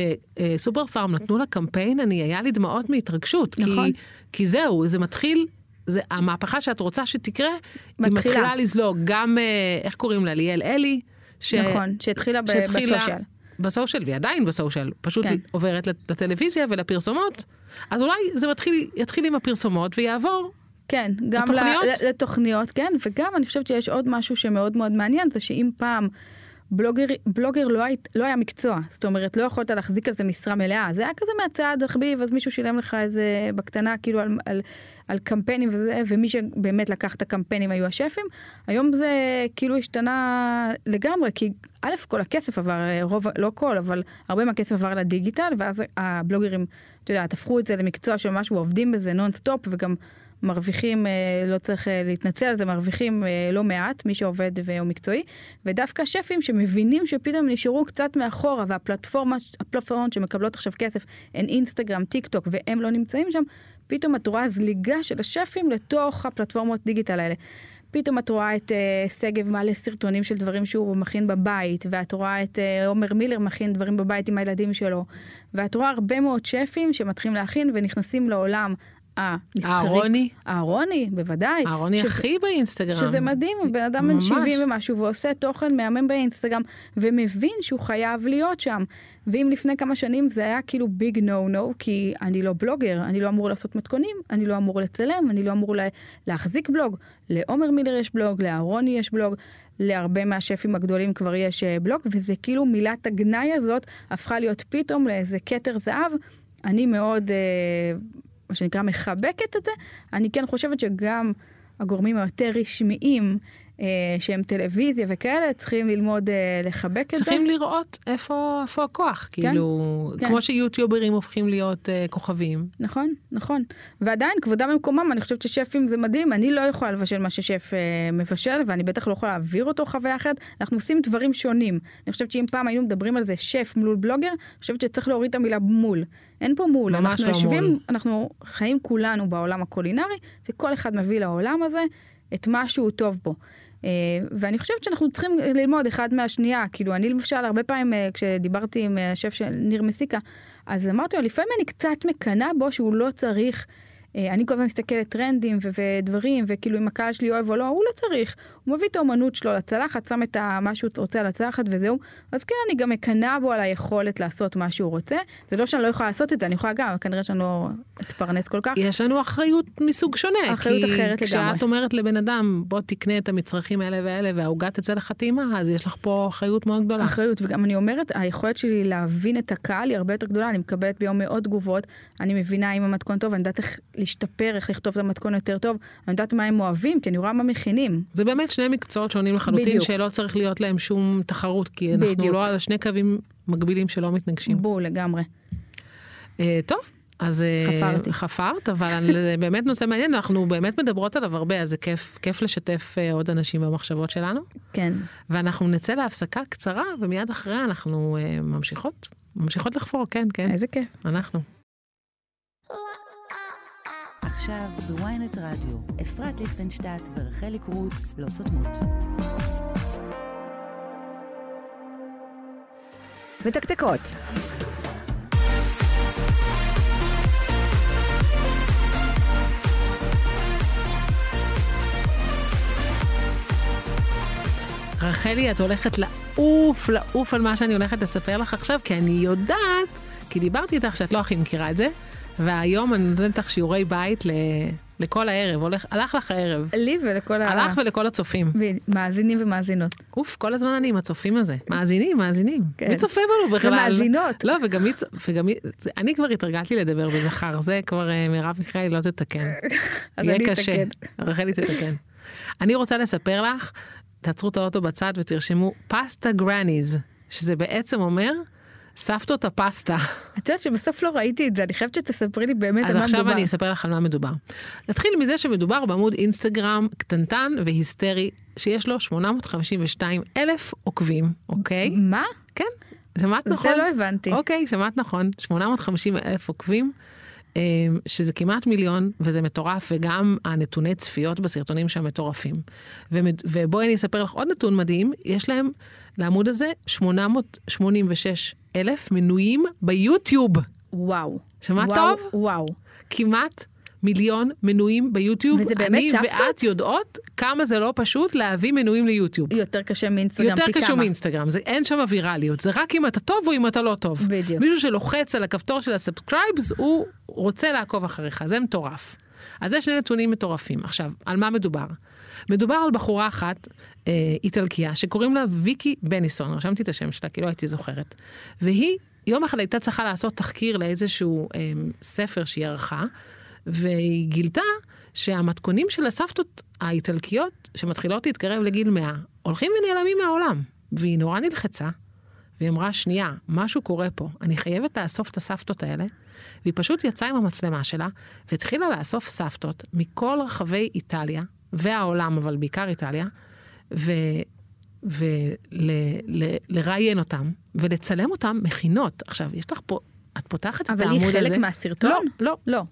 Speaker 3: שסופר פארם נתנו לה קמפיין, אני, היה לי דמעות מהתרגשות. כי-
Speaker 4: נכון.
Speaker 3: כי זהו, זה מתחיל. זה המהפכה שאת רוצה שתקרה, היא
Speaker 4: מתחילה.
Speaker 3: מתחילה לזלוג. גם, אה, איך קוראים לה? ליאל אלי. ש-
Speaker 4: נכון, שהתחילה ב-
Speaker 3: שהתחילה
Speaker 4: בסושיאל.
Speaker 3: בסושיאל, והיא עדיין בסושיאל, פשוט
Speaker 4: כן.
Speaker 3: כן. עוברת לט- לטלוויזיה ולפרסומות, אז אולי זה מתחיל, יתחיל עם הפרסומות ויעבור.
Speaker 4: כן, גם
Speaker 3: לתוכניות?
Speaker 4: ל- לתוכניות, כן, וגם אני חושבת שיש עוד משהו שמאוד מאוד מעניין, זה שאם פעם בלוגר, בלוגר לא, היית, לא היה מקצוע, זאת אומרת, לא יכולת להחזיק על זה משרה מלאה, זה היה כזה מהצד, תחביב, אז מישהו שילם לך איזה בקטנה, כאילו על, על, על קמפיינים וזה, ומי שבאמת לקח את הקמפיינים היו השפים, היום זה כאילו השתנה לגמרי, כי א', כל הכסף עבר, אה, רוב, לא כל, אבל הרבה מהכסף עבר לדיגיטל, ואז הבלוגרים, את יודעת, הפכו את זה למקצוע של משהו, עובדים בזה נונסטופ, וגם מרוויחים, אה, לא צריך אה, להתנצל על זה, מרוויחים אה, לא מעט, מי שעובד והוא מקצועי, ודווקא שפים שמבינים שפתאום נשארו קצת מאחורה, והפלטפורמות שמקבלות עכשיו כסף הן אינסטגרם, טיק טוק, והם לא נמצאים שם, פתאום את רואה זליגה של השפים לתוך הפלטפורמות דיגיטל האלה. פתאום את רואה את אה, שגב מעלה סרטונים של דברים שהוא מכין בבית, ואת רואה את אה, עומר מילר מכין דברים בבית עם הילדים שלו, ואת רואה הרבה מאוד שפים שמתחילים להכין ונכנסים לעולם המסחרי.
Speaker 3: אהרוני,
Speaker 4: אהרוני, בוודאי.
Speaker 3: אהרוני
Speaker 4: שזה-
Speaker 3: הכי באינסטגרם.
Speaker 4: שזה מדהים, בן אדם בן
Speaker 3: ממש.
Speaker 4: 70 ומשהו ועושה תוכן מהמם באינסטגרם, ומבין שהוא חייב להיות שם. ואם לפני כמה שנים זה היה כאילו ביג נו נו, כי אני לא בלוגר, אני לא אמור לעשות מתכונים, אני לא אמור לצלם, אני לא אמור לה, להחזיק בלוג. לעומר מילר יש בלוג, לאהרוני יש בלוג, להרבה מהשפים הגדולים כבר יש אה, בלוג, וזה כאילו מילת הגנאי הזאת הפכה להיות פתאום לאיזה כתר זהב. אני מאוד, אה, מה שנקרא, מחבקת את זה. אני כן חושבת שגם הגורמים היותר רשמיים, אה, שהם טלוויזיה וכאלה, צריכים ללמוד אה, לחבק את זה.
Speaker 3: צריכים לראות איפה איפה הכוח, כאילו,
Speaker 4: כן.
Speaker 3: כמו שיוטיוברים הופכים להיות אה, כוכבים.
Speaker 4: נכון, נכון. ועדיין, כבודם במקומם, אני חושבת ששפים זה מדהים. אני לא יכולה לבשל מה ששף אה, מבשל, ואני בטח לא יכולה להעביר אותו חוויה אחרת. אנחנו עושים דברים שונים. אני חושבת שאם פעם היינו מדברים על זה שף מול בלוגר, אני חושבת שצריך להוריד את המילה מול. אין פה מול.
Speaker 3: ממש
Speaker 4: אנחנו
Speaker 3: לא
Speaker 4: יושבים,
Speaker 3: מול.
Speaker 4: אנחנו חיים כולנו בעולם הקולינרי, וכל אחד מביא לעולם הזה את מה שהוא טוב בו. אה, ואני חושבת שאנחנו צריכים ללמוד אחד מהשנייה, כאילו אני למשל הרבה פעמים אה, כשדיברתי עם אה, השף של ניר מסיקה, אז אמרתי לו, לפעמים אני קצת מקנאה בו שהוא לא צריך, אה, אני כל הזמן מסתכלת טרנדים ו- ודברים, וכאילו אם הקהל שלי אוהב או לא, הוא לא צריך. הוא מביא את האומנות שלו לצלחת, שם את ה- מה שהוא רוצה על הצלחת וזהו. אז כן, אני גם מקנאה בו על היכולת לעשות מה שהוא רוצה. זה לא שאני לא יכולה לעשות את זה, אני יכולה גם, אבל כנראה שאני לא אתפרנס כל כך.
Speaker 3: יש לנו אחריות מסוג שונה.
Speaker 4: אחריות
Speaker 3: כי
Speaker 4: אחרת לגמרי.
Speaker 3: כשאת אומרת לבן אדם, בוא תקנה את המצרכים האלה והאלה והעוגה תצא לך טעימה, אז יש לך פה אחריות מאוד גדולה.
Speaker 4: אחריות, וגם אני אומרת, היכולת שלי להבין את הקהל היא הרבה יותר גדולה, אני מקבלת ביום מאות תגובות, אני מבינה אם המתכון טוב, אני יודעת איך להשתפר, איך לכתוב את המתכון יותר טוב, אני יודעת מה הם אוהבים, כי אני רואה מה מכינים.
Speaker 3: זה באמת שני מקצועות שונים לחלוטין,
Speaker 4: בדיוק.
Speaker 3: שלא צריך להיות להם שום תחרות, כי אנחנו
Speaker 4: בדיוק.
Speaker 3: לא על שני קווים מקבילים שלא מתנגשים.
Speaker 4: בול לגמרי.
Speaker 3: אה, טוב, אז אה,
Speaker 4: חפרתי.
Speaker 3: חפרת, אבל אני- זה באמת נושא מעניין, אנחנו באמת מדברות עליו הרבה, אז זה כיף, כיף לשתף אה, עוד אנשים במחשבות שלנו.
Speaker 4: כן.
Speaker 3: ואנחנו נצא להפסקה קצרה, ומיד אחריה אנחנו אה, ממשיכות, ממשיכות לחפור, כן, כן,
Speaker 4: איזה כיף.
Speaker 3: אנחנו.
Speaker 2: עכשיו בוויינט רדיו, אפרת ליכטנשטט ורחלי קרוט לא סותמות.
Speaker 1: מתקתקות.
Speaker 3: רחלי, את הולכת לעוף, לעוף על מה שאני הולכת לספר לך עכשיו, כי אני יודעת, כי דיברתי איתך שאת לא הכי מכירה את זה, והיום אני נותנת לך שיעורי בית ל... לכל הערב, הולך, הלך לך הערב.
Speaker 4: לי ולכל ה...
Speaker 3: הלך ולכל הצופים.
Speaker 4: ו- מאזינים ומאזינות.
Speaker 3: אוף, כל הזמן אני עם הצופים הזה. מאזינים, מאזינים.
Speaker 4: כן.
Speaker 3: מי צופה בנו בכלל?
Speaker 4: ומאזינות.
Speaker 3: לא, וגם מי... צ- וגם מי... זה- אני כבר התרגלתי לדבר בזכר, זה כבר אה, מרב מיכאלי לא תתקן.
Speaker 4: אז
Speaker 3: יהיה
Speaker 4: אני
Speaker 3: קשה.
Speaker 4: אתקן.
Speaker 3: רחלי תתקן. אני רוצה לספר לך, תעצרו את האוטו בצד ותרשמו פסטה גרניז, שזה בעצם אומר סבתות הפסטה.
Speaker 4: את יודעת שבסוף לא ראיתי את זה, אני חייבת שתספרי לי באמת על
Speaker 3: אז
Speaker 4: מה מדובר.
Speaker 3: עכשיו אני אספר לך על מה מדובר. נתחיל מזה שמדובר בעמוד אינסטגרם קטנטן והיסטרי, שיש לו 852 אלף עוקבים, אוקיי?
Speaker 4: מה?
Speaker 3: כן, שמעת נכון.
Speaker 4: זה לא הבנתי.
Speaker 3: אוקיי, שמעת נכון. 850 אלף עוקבים, אה, שזה כמעט מיליון, וזה מטורף, וגם הנתוני צפיות בסרטונים שם מטורפים. ומד- ובואי אני אספר לך עוד נתון מדהים, יש להם, לעמוד הזה, 886 אלף מנויים ביוטיוב.
Speaker 4: וואו.
Speaker 3: שמעת
Speaker 4: וואו,
Speaker 3: טוב?
Speaker 4: וואו.
Speaker 3: כמעט מיליון מנויים ביוטיוב.
Speaker 4: וזה באמת
Speaker 3: אני
Speaker 4: סבתות?
Speaker 3: ואת יודעות כמה זה לא פשוט להביא מנויים ליוטיוב.
Speaker 4: יותר קשה מאינסטגרם, פי
Speaker 3: יותר
Speaker 4: כמה.
Speaker 3: קשור מאינסטגרם, זה אין שם ויראליות, זה רק אם אתה טוב או אם אתה לא טוב.
Speaker 4: בדיוק.
Speaker 3: מישהו שלוחץ על הכפתור של הסאבסקרייבס, הוא רוצה לעקוב אחריך, זה מטורף. אז זה שני נתונים מטורפים. עכשיו, על מה מדובר? מדובר על בחורה אחת, אה, איטלקיה, שקוראים לה ויקי בניסון, רשמתי את השם שלה כי לא הייתי זוכרת. והיא יום אחד הייתה צריכה לעשות תחקיר לאיזשהו אה, ספר שהיא ערכה, והיא גילתה שהמתכונים של הסבתות האיטלקיות, שמתחילות להתקרב לגיל 100, הולכים ונעלמים מהעולם. והיא נורא נלחצה, והיא אמרה, שנייה, משהו קורה פה, אני חייבת לאסוף את הסבתות האלה. והיא פשוט יצאה עם המצלמה שלה, והתחילה לאסוף סבתות מכל רחבי איטליה, והעולם, אבל בעיקר איטליה, ולראיין אותם, ולצלם אותם מכינות. עכשיו, יש לך פה, את פותחת את
Speaker 4: אבל
Speaker 3: העמוד הזה.
Speaker 4: היא חלק מהסרטון?
Speaker 3: לא, לא,
Speaker 4: לא.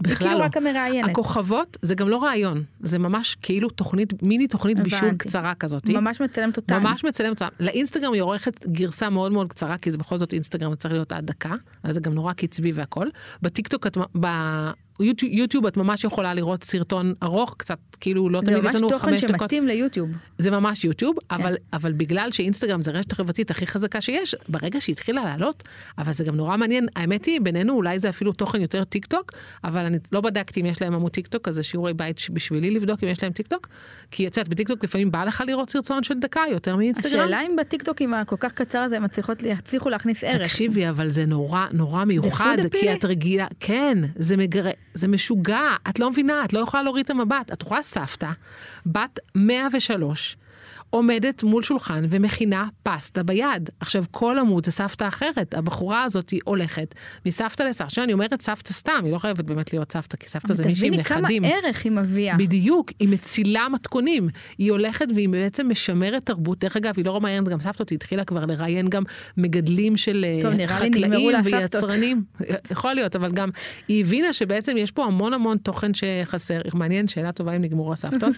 Speaker 3: בכלל
Speaker 4: כאילו
Speaker 3: לא.
Speaker 4: רק המראיינת.
Speaker 3: הכוכבות זה גם לא רעיון, זה ממש כאילו תוכנית, מיני תוכנית בישול
Speaker 4: הבנתי.
Speaker 3: קצרה כזאת.
Speaker 4: ממש מצלמת אותנו.
Speaker 3: ממש מצלמת אותה. לאינסטגרם היא עורכת גרסה מאוד מאוד קצרה, כי זה בכל זאת אינסטגרם זה צריך להיות עד דקה, אז זה גם נורא קצבי והכל. בטיקטוק את... מ- ביוטיוב יוטיוב את ממש יכולה לראות סרטון ארוך קצת, כאילו לא
Speaker 4: זה
Speaker 3: תמיד יש
Speaker 4: ממש
Speaker 3: לנו
Speaker 4: תוכן
Speaker 3: חמש דקות.
Speaker 4: שמתאים ליוטיוב.
Speaker 3: זה ממש יוטיוב, אבל, אבל בגלל שאינסטגרם זה הרשת החברתית הכי חזקה שיש, ברגע שהתחילה לעלות, אבל זה גם נורא מעניין, האמת היא, בינינו אולי זה אפילו תוכן יותר טיק טוק, אבל אני לא בדקתי אם יש להם עמוד טיק טוק, אז זה שיעורי בית ש- בשבילי לבדוק אם יש להם טיק טוק, כי את יודעת, בטיק טוק לפעמים בא לך לראות סרטון של דקה יותר מאינסטגרם.
Speaker 4: השאלה אם בטיקטוקים הכל כך קצר הזה הם מצליחות- יצליחו להכניס ערך.
Speaker 3: תקשיבי, אבל זה נורא נורא מיוחד, כי
Speaker 4: appealing.
Speaker 3: את רגילה, כן, זה מגרה, זה משוגע, את לא מבינה, את לא יכולה להוריד את המבט. את רואה סבתא, בת 103, עומדת מול שולחן ומכינה פסטה ביד. עכשיו, כל עמוד זה סבתא אחרת, הבחורה הזאת היא הולכת מסבתא לסבתא. עכשיו, אני אומרת סבתא סתם, היא לא חייבת באמת להיות סבתא, כי סבתא זה
Speaker 4: אבל
Speaker 3: מישהי עם
Speaker 4: תביני כמה
Speaker 3: נכדים.
Speaker 4: ערך היא מביאה.
Speaker 3: בדיוק, היא מצילה מתכונים. היא הולכת והיא בעצם משמרת תרבות. דרך אגב, היא לא מראיינת גם סבתות, היא התחילה כבר לראיין גם מגדלים של אה,
Speaker 4: טוב, נראה לי נגמרו
Speaker 3: חקלאים
Speaker 4: לה הסבתות.
Speaker 3: ויצרנים. יכול להיות, אבל גם היא הבינה שבעצם יש פה המון המון תוכן שחסר. מעניין, שאלה טובה אם נגמרו הסבתות.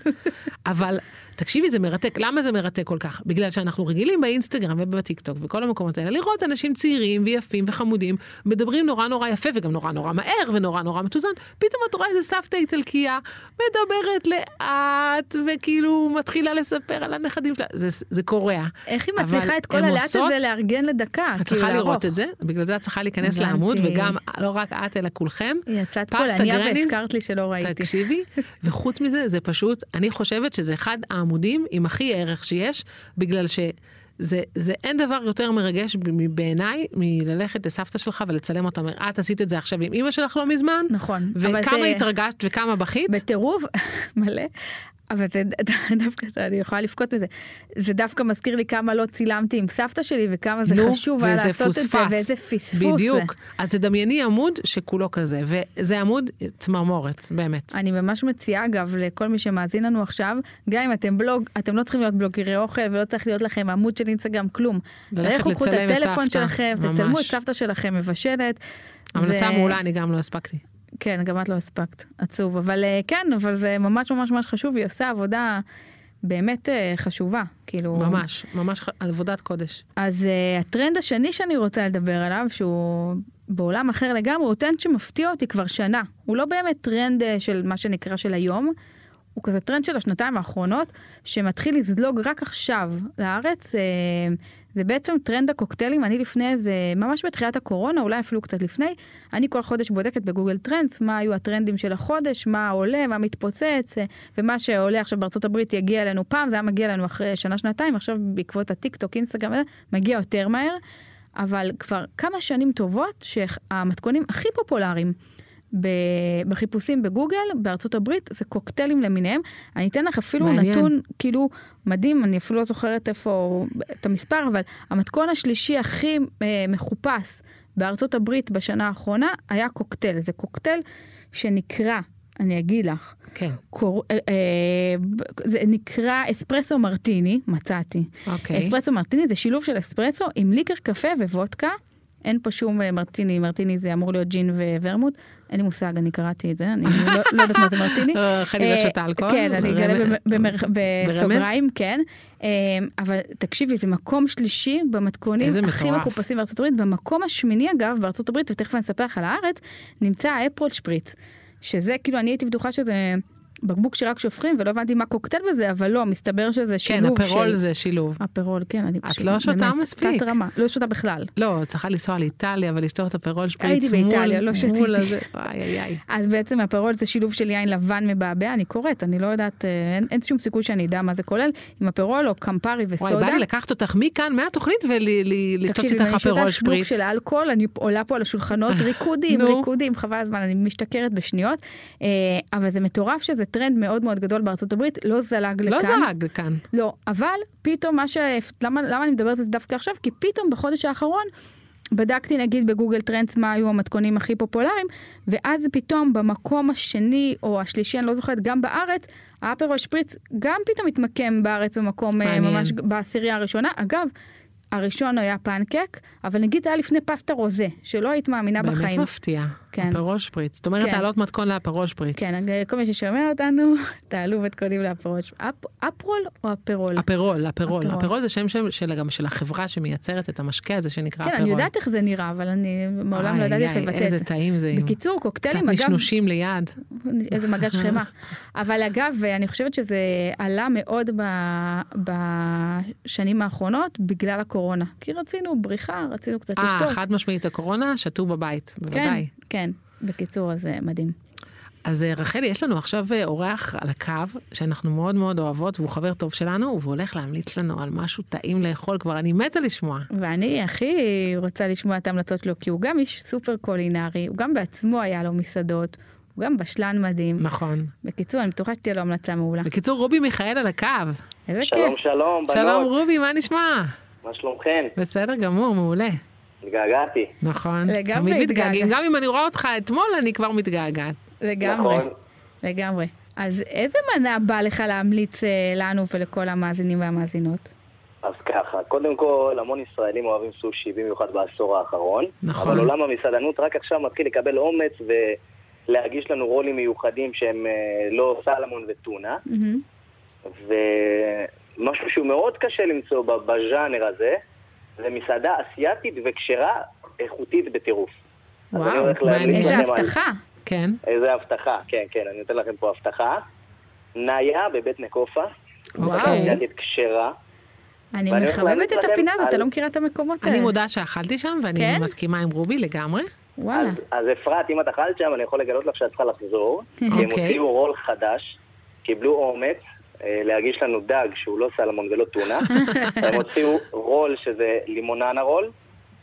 Speaker 3: אבל תקשיבי, זה מרתק. למה זה מרתק כל כך? בגלל שאנחנו רגילים באינסטגרם ובטיקטוק וכל המקומות האלה לראות אנשים צעירים ויפים וחמודים, מדברים נורא נורא יפה וגם נורא נורא מהר ונורא נורא מתוזן, פתאום את רואה איזה סבתא איטלקייה מדברת לאט וכאילו מתחילה לספר על הנכדים שלה. זה, זה קורע.
Speaker 4: איך היא
Speaker 3: אבל
Speaker 4: מצליחה את כל
Speaker 3: הן
Speaker 4: הלאט
Speaker 3: עושות-
Speaker 4: הזה לארגן לדקה?
Speaker 3: את
Speaker 4: כאילו,
Speaker 3: צריכה לראות
Speaker 4: לערוך?
Speaker 3: את זה, בגלל זה את צריכה להיכנס
Speaker 4: הבנתי.
Speaker 3: לעמוד, וגם לא רק את אלא כולכם.
Speaker 4: יצאת
Speaker 3: פסטה
Speaker 4: פולניה
Speaker 3: גרניז?
Speaker 4: והזכרת לי שלא ראיתי.
Speaker 3: תקשיבי, וחוץ מזה, זה פשוט, אני חושבת שזה אחד העמודים עם הכי ערך שיש, בגלל ש... זה, זה אין דבר יותר מרגש ב- מ- בעיניי מללכת לסבתא שלך ולצלם אותה. אומר, את עשית את זה עכשיו עם אימא שלך לא מזמן,
Speaker 4: נכון. אבל
Speaker 3: וכמה
Speaker 4: זה-
Speaker 3: התרגשת וכמה בכית.
Speaker 4: בטירוף מלא. אבל זה ד- ד- דווקא, אני יכולה לבכות מזה. זה דווקא מזכיר לי כמה לא צילמתי עם סבתא שלי וכמה זה
Speaker 3: נו,
Speaker 4: חשוב היה
Speaker 3: וזה
Speaker 4: לעשות את זה
Speaker 3: פוספס.
Speaker 4: ואיזה פספוס זה.
Speaker 3: בדיוק. אז תדמייני עמוד שכולו כזה, וזה עמוד צמרמורת, באמת.
Speaker 4: אני ממש מציעה אגב לכל מי שמאזין לנו עכשיו, גם אם אתם בלוג, אתם לא צריכים להיות בלוגרי אוכל ולא צריך להיות לכם עמוד של אינסטגרם, כלום.
Speaker 3: ללכת
Speaker 4: לכו קחו את
Speaker 3: לצלם את
Speaker 4: הטלפון
Speaker 3: סבתא,
Speaker 4: שלכם,
Speaker 3: ממש.
Speaker 4: תצלמו את סבתא שלכם מבשלת.
Speaker 3: המלצה
Speaker 4: זה-
Speaker 3: מעולה, אני גם לא הספקתי.
Speaker 4: כן, גם את לא הספקת, עצוב. אבל אה, כן, אבל זה ממש ממש ממש חשוב, היא עושה עבודה באמת אה, חשובה, כאילו...
Speaker 3: ממש, ממש ח- עבודת קודש.
Speaker 4: אז uh, הטרנד השני שאני רוצה לדבר עליו, שהוא בעולם אחר לגמרי, הוא טרנד שמפתיע אותי כבר שנה. הוא לא באמת טרנד uh, של מה שנקרא של היום, הוא כזה טרנד של השנתיים האחרונות, שמתחיל לזלוג רק עכשיו לארץ. Uh, זה בעצם טרנד הקוקטיילים, אני לפני איזה, ממש בתחילת הקורונה, אולי אפילו קצת לפני, אני כל חודש בודקת בגוגל טרנדס מה היו הטרנדים של החודש, מה עולה, מה מתפוצץ, אה, ומה שעולה עכשיו בארצות הברית יגיע אלינו פעם, זה היה מגיע אלינו אחרי שנה-שנתיים, עכשיו בעקבות הטיק טוק, אינסטגרם, אה, מגיע יותר מהר, אבל כבר כמה שנים טובות שהמתכונים הכי פופולריים. ב- בחיפושים בגוגל בארצות הברית זה קוקטיילים למיניהם אני אתן לך אפילו
Speaker 3: מעניין.
Speaker 4: נתון כאילו מדהים אני אפילו לא זוכרת איפה את המספר אבל המתכון השלישי הכי אה, מחופש בארצות הברית בשנה האחרונה היה קוקטייל זה קוקטייל שנקרא אני אגיד לך
Speaker 3: כן,
Speaker 4: קור... אה, אה, ב- זה נקרא אספרסו מרטיני, מצאתי.
Speaker 3: אוקיי.
Speaker 4: אספרסו מרטיני זה שילוב של אספרסו עם ליקר קפה ווודקה. אין פה שום אה, מרטיני, מרטיני זה אמור להיות ג'ין וורמוט. אין לי מושג, אני קראתי את זה, אני לא, לא יודעת מה זה מרטיני.
Speaker 3: אה, רחלי לא
Speaker 4: אה,
Speaker 3: שותה אלכוהול?
Speaker 4: כן, אני
Speaker 3: ברמ-
Speaker 4: אגלה במ- במר- בסוגריים, כן. אה, אבל תקשיבי, זה מקום שלישי במתכונים
Speaker 3: איזה
Speaker 4: הכי
Speaker 3: מטורף.
Speaker 4: מחופשים בארצות הברית. במקום השמיני אגב, בארצות הברית, ותכף אני אספר לך על הארץ, נמצא האפרול שפריץ. שזה כאילו, אני הייתי בטוחה שזה בקבוק שרק שופכים, ולא הבנתי מה קוקטייל בזה, אבל לא, מסתבר שזה
Speaker 3: כן,
Speaker 4: שילוב
Speaker 3: הפרול
Speaker 4: של...
Speaker 3: זה שילוב.
Speaker 4: אפרול, כן, אני
Speaker 3: את לא שותה
Speaker 4: באמת,
Speaker 3: מספיק.
Speaker 4: תת רמה, לא שותה בכלל.
Speaker 3: לא, צריכה לנסוע לאיטליה ולשתות את הפרול שפריץ
Speaker 4: הייתי
Speaker 3: מול-
Speaker 4: באיטליה, לא שתיתי.
Speaker 3: מול הזה. וואי איי איי.
Speaker 4: אז בעצם הפרול זה שילוב של יין לבן מבעבע, אני קוראת, אני לא יודעת, אה, אין, אין שום סיכוי שאני אדע מה זה כולל, עם הפרול או קמפרי
Speaker 3: וואי, בא
Speaker 4: וסודה.
Speaker 3: לי לקחת אותך מכאן, מהתוכנית, ולשתות
Speaker 4: תקשיב, אם
Speaker 3: איתך
Speaker 4: אני שותה
Speaker 3: הפרול
Speaker 4: שלוק
Speaker 3: שפריץ.
Speaker 4: של אלכוהול, אני עולה פה על השולחנות, ריקודים,
Speaker 3: נו.
Speaker 4: ריקודים, חבל הזמן, אני משתכרת בשניות. אה, אבל זה מטורף שזה טרנד מאוד מאוד גדול בארצות הברית, לא זלג לכאן.
Speaker 3: לא זלג כאן.
Speaker 4: לא, אבל פתאום מה ש... למה, למה אני מדברת על זה דווקא עכשיו? כי פתאום בחודש האחרון בדקתי נגיד בגוגל טרנדס מה היו המתכונים הכי פופולריים, ואז פתאום במקום השני או השלישי, אני לא זוכרת, גם בארץ, האפרו שפריץ גם פתאום התמקם בארץ במקום אה,
Speaker 3: מעניין.
Speaker 4: ממש בעשירייה הראשונה. אגב, הראשון היה פנקק, אבל נגיד היה לפני פסטה רוזה, שלא היית מאמינה
Speaker 3: באמת
Speaker 4: בחיים.
Speaker 3: מפתיע.
Speaker 4: כן.
Speaker 3: הפרוש שפריץ. זאת אומרת,
Speaker 4: כן.
Speaker 3: תעלות מתכון להפרוש שפריץ.
Speaker 4: כן, אז, אה, כל מי ששומע אותנו, תעלו מתכונים לאפרוש. אפ- אפרול או אפרול?
Speaker 3: אפרול, אפרול.
Speaker 4: אפרול.
Speaker 3: אפרול זה שם של, של, גם של החברה שמייצרת את המשקה הזה שנקרא
Speaker 4: כן,
Speaker 3: אפרול.
Speaker 4: אני יודעת איך זה נראה, אבל אני מעולם לא
Speaker 3: איי,
Speaker 4: ידעתי איך
Speaker 3: איי,
Speaker 4: לבטא את זה.
Speaker 3: איזה טעים זה. עם
Speaker 4: בקיצור,
Speaker 3: קצת
Speaker 4: קוקטיילים, אגב,
Speaker 3: נשנושים ליד.
Speaker 4: איזה מגש חמאה. אבל אגב, אני חושבת שזה עלה מאוד ב- בשנים האחרונות בגלל הקורונה. כי רצינו בריחה, רצינו קצת
Speaker 3: אה,
Speaker 4: לשתות.
Speaker 3: חד משמעית הקורונה, שתו בבית,
Speaker 4: כן,
Speaker 3: בוודאי.
Speaker 4: כן. בקיצור, אז אה, מדהים.
Speaker 3: אז אה, רחלי, יש לנו עכשיו אה, אורח על הקו, שאנחנו מאוד מאוד אוהבות, והוא חבר טוב שלנו, והוא הולך להמליץ לנו על משהו טעים לאכול כבר, אני מתה לשמוע.
Speaker 4: ואני הכי רוצה לשמוע את ההמלצות שלו, כי הוא גם איש סופר קולינרי, הוא גם בעצמו היה לו מסעדות, הוא גם בשלן מדהים.
Speaker 3: נכון.
Speaker 4: בקיצור, אני בטוחה שתהיה לו המלצה מעולה.
Speaker 3: בקיצור, רובי מיכאל על הקו.
Speaker 4: איזה כיף.
Speaker 5: שלום, שלום, בנות.
Speaker 3: שלום רובי, מה נשמע?
Speaker 5: מה שלומכן?
Speaker 3: בסדר גמור, מעולה.
Speaker 5: התגעגעתי.
Speaker 3: נכון.
Speaker 4: לגמרי
Speaker 3: תמיד מתגעגעים,
Speaker 4: התגעגע-
Speaker 3: גם אם אני רואה אותך אתמול, אני כבר מתגעגעת.
Speaker 4: לגמרי,
Speaker 5: נכון.
Speaker 4: לגמרי. אז איזה מנה בא לך להמליץ אה, לנו ולכל המאזינים והמאזינות?
Speaker 5: אז ככה, קודם כל, המון ישראלים אוהבים סושי, במיוחד בעשור האחרון.
Speaker 3: נכון.
Speaker 5: אבל לא עולם המסעדנות רק עכשיו מתחיל לקבל אומץ ולהגיש לנו רולים מיוחדים שהם אה, לא סלמון וטונה.
Speaker 4: מהמם.
Speaker 5: Mm-hmm. ומשהו שהוא מאוד קשה למצוא ב- בז'אנר הזה, זה מסעדה אסייתית וכשרה איכותית בטירוף. אז אני
Speaker 4: וואו,
Speaker 5: הולך להמליץ
Speaker 3: מעניין.
Speaker 4: איזה
Speaker 5: לכם על-
Speaker 4: הבטחה.
Speaker 3: כן.
Speaker 5: איזה הבטחה, כן, כן, אני נותן לכם פה הבטחה. נאיה בבית נקופה.
Speaker 3: אוקיי.
Speaker 5: נגד כשרה.
Speaker 4: אני
Speaker 5: ואני הולך
Speaker 4: מחבבת
Speaker 5: להמליץ
Speaker 4: את
Speaker 5: לכם
Speaker 4: הפינה הזאת, אתה
Speaker 5: על-
Speaker 4: לא מכירה את המקומות האלה.
Speaker 3: אני מודה שאכלתי שם, ואני
Speaker 4: כן?
Speaker 3: מסכימה עם רובי לגמרי.
Speaker 4: וואלה.
Speaker 5: אז- אז אפרת, אם את אכלת שם, אני יכול לגלות לך שאת צריכה לחזור. כי הם
Speaker 3: אוקיי.
Speaker 5: הוציאו רול חדש, קיבלו אומץ אה, להגיש לנו דג שהוא לא סלמון ולא טונה. הם הוציאו רול שזה לימוננה רול,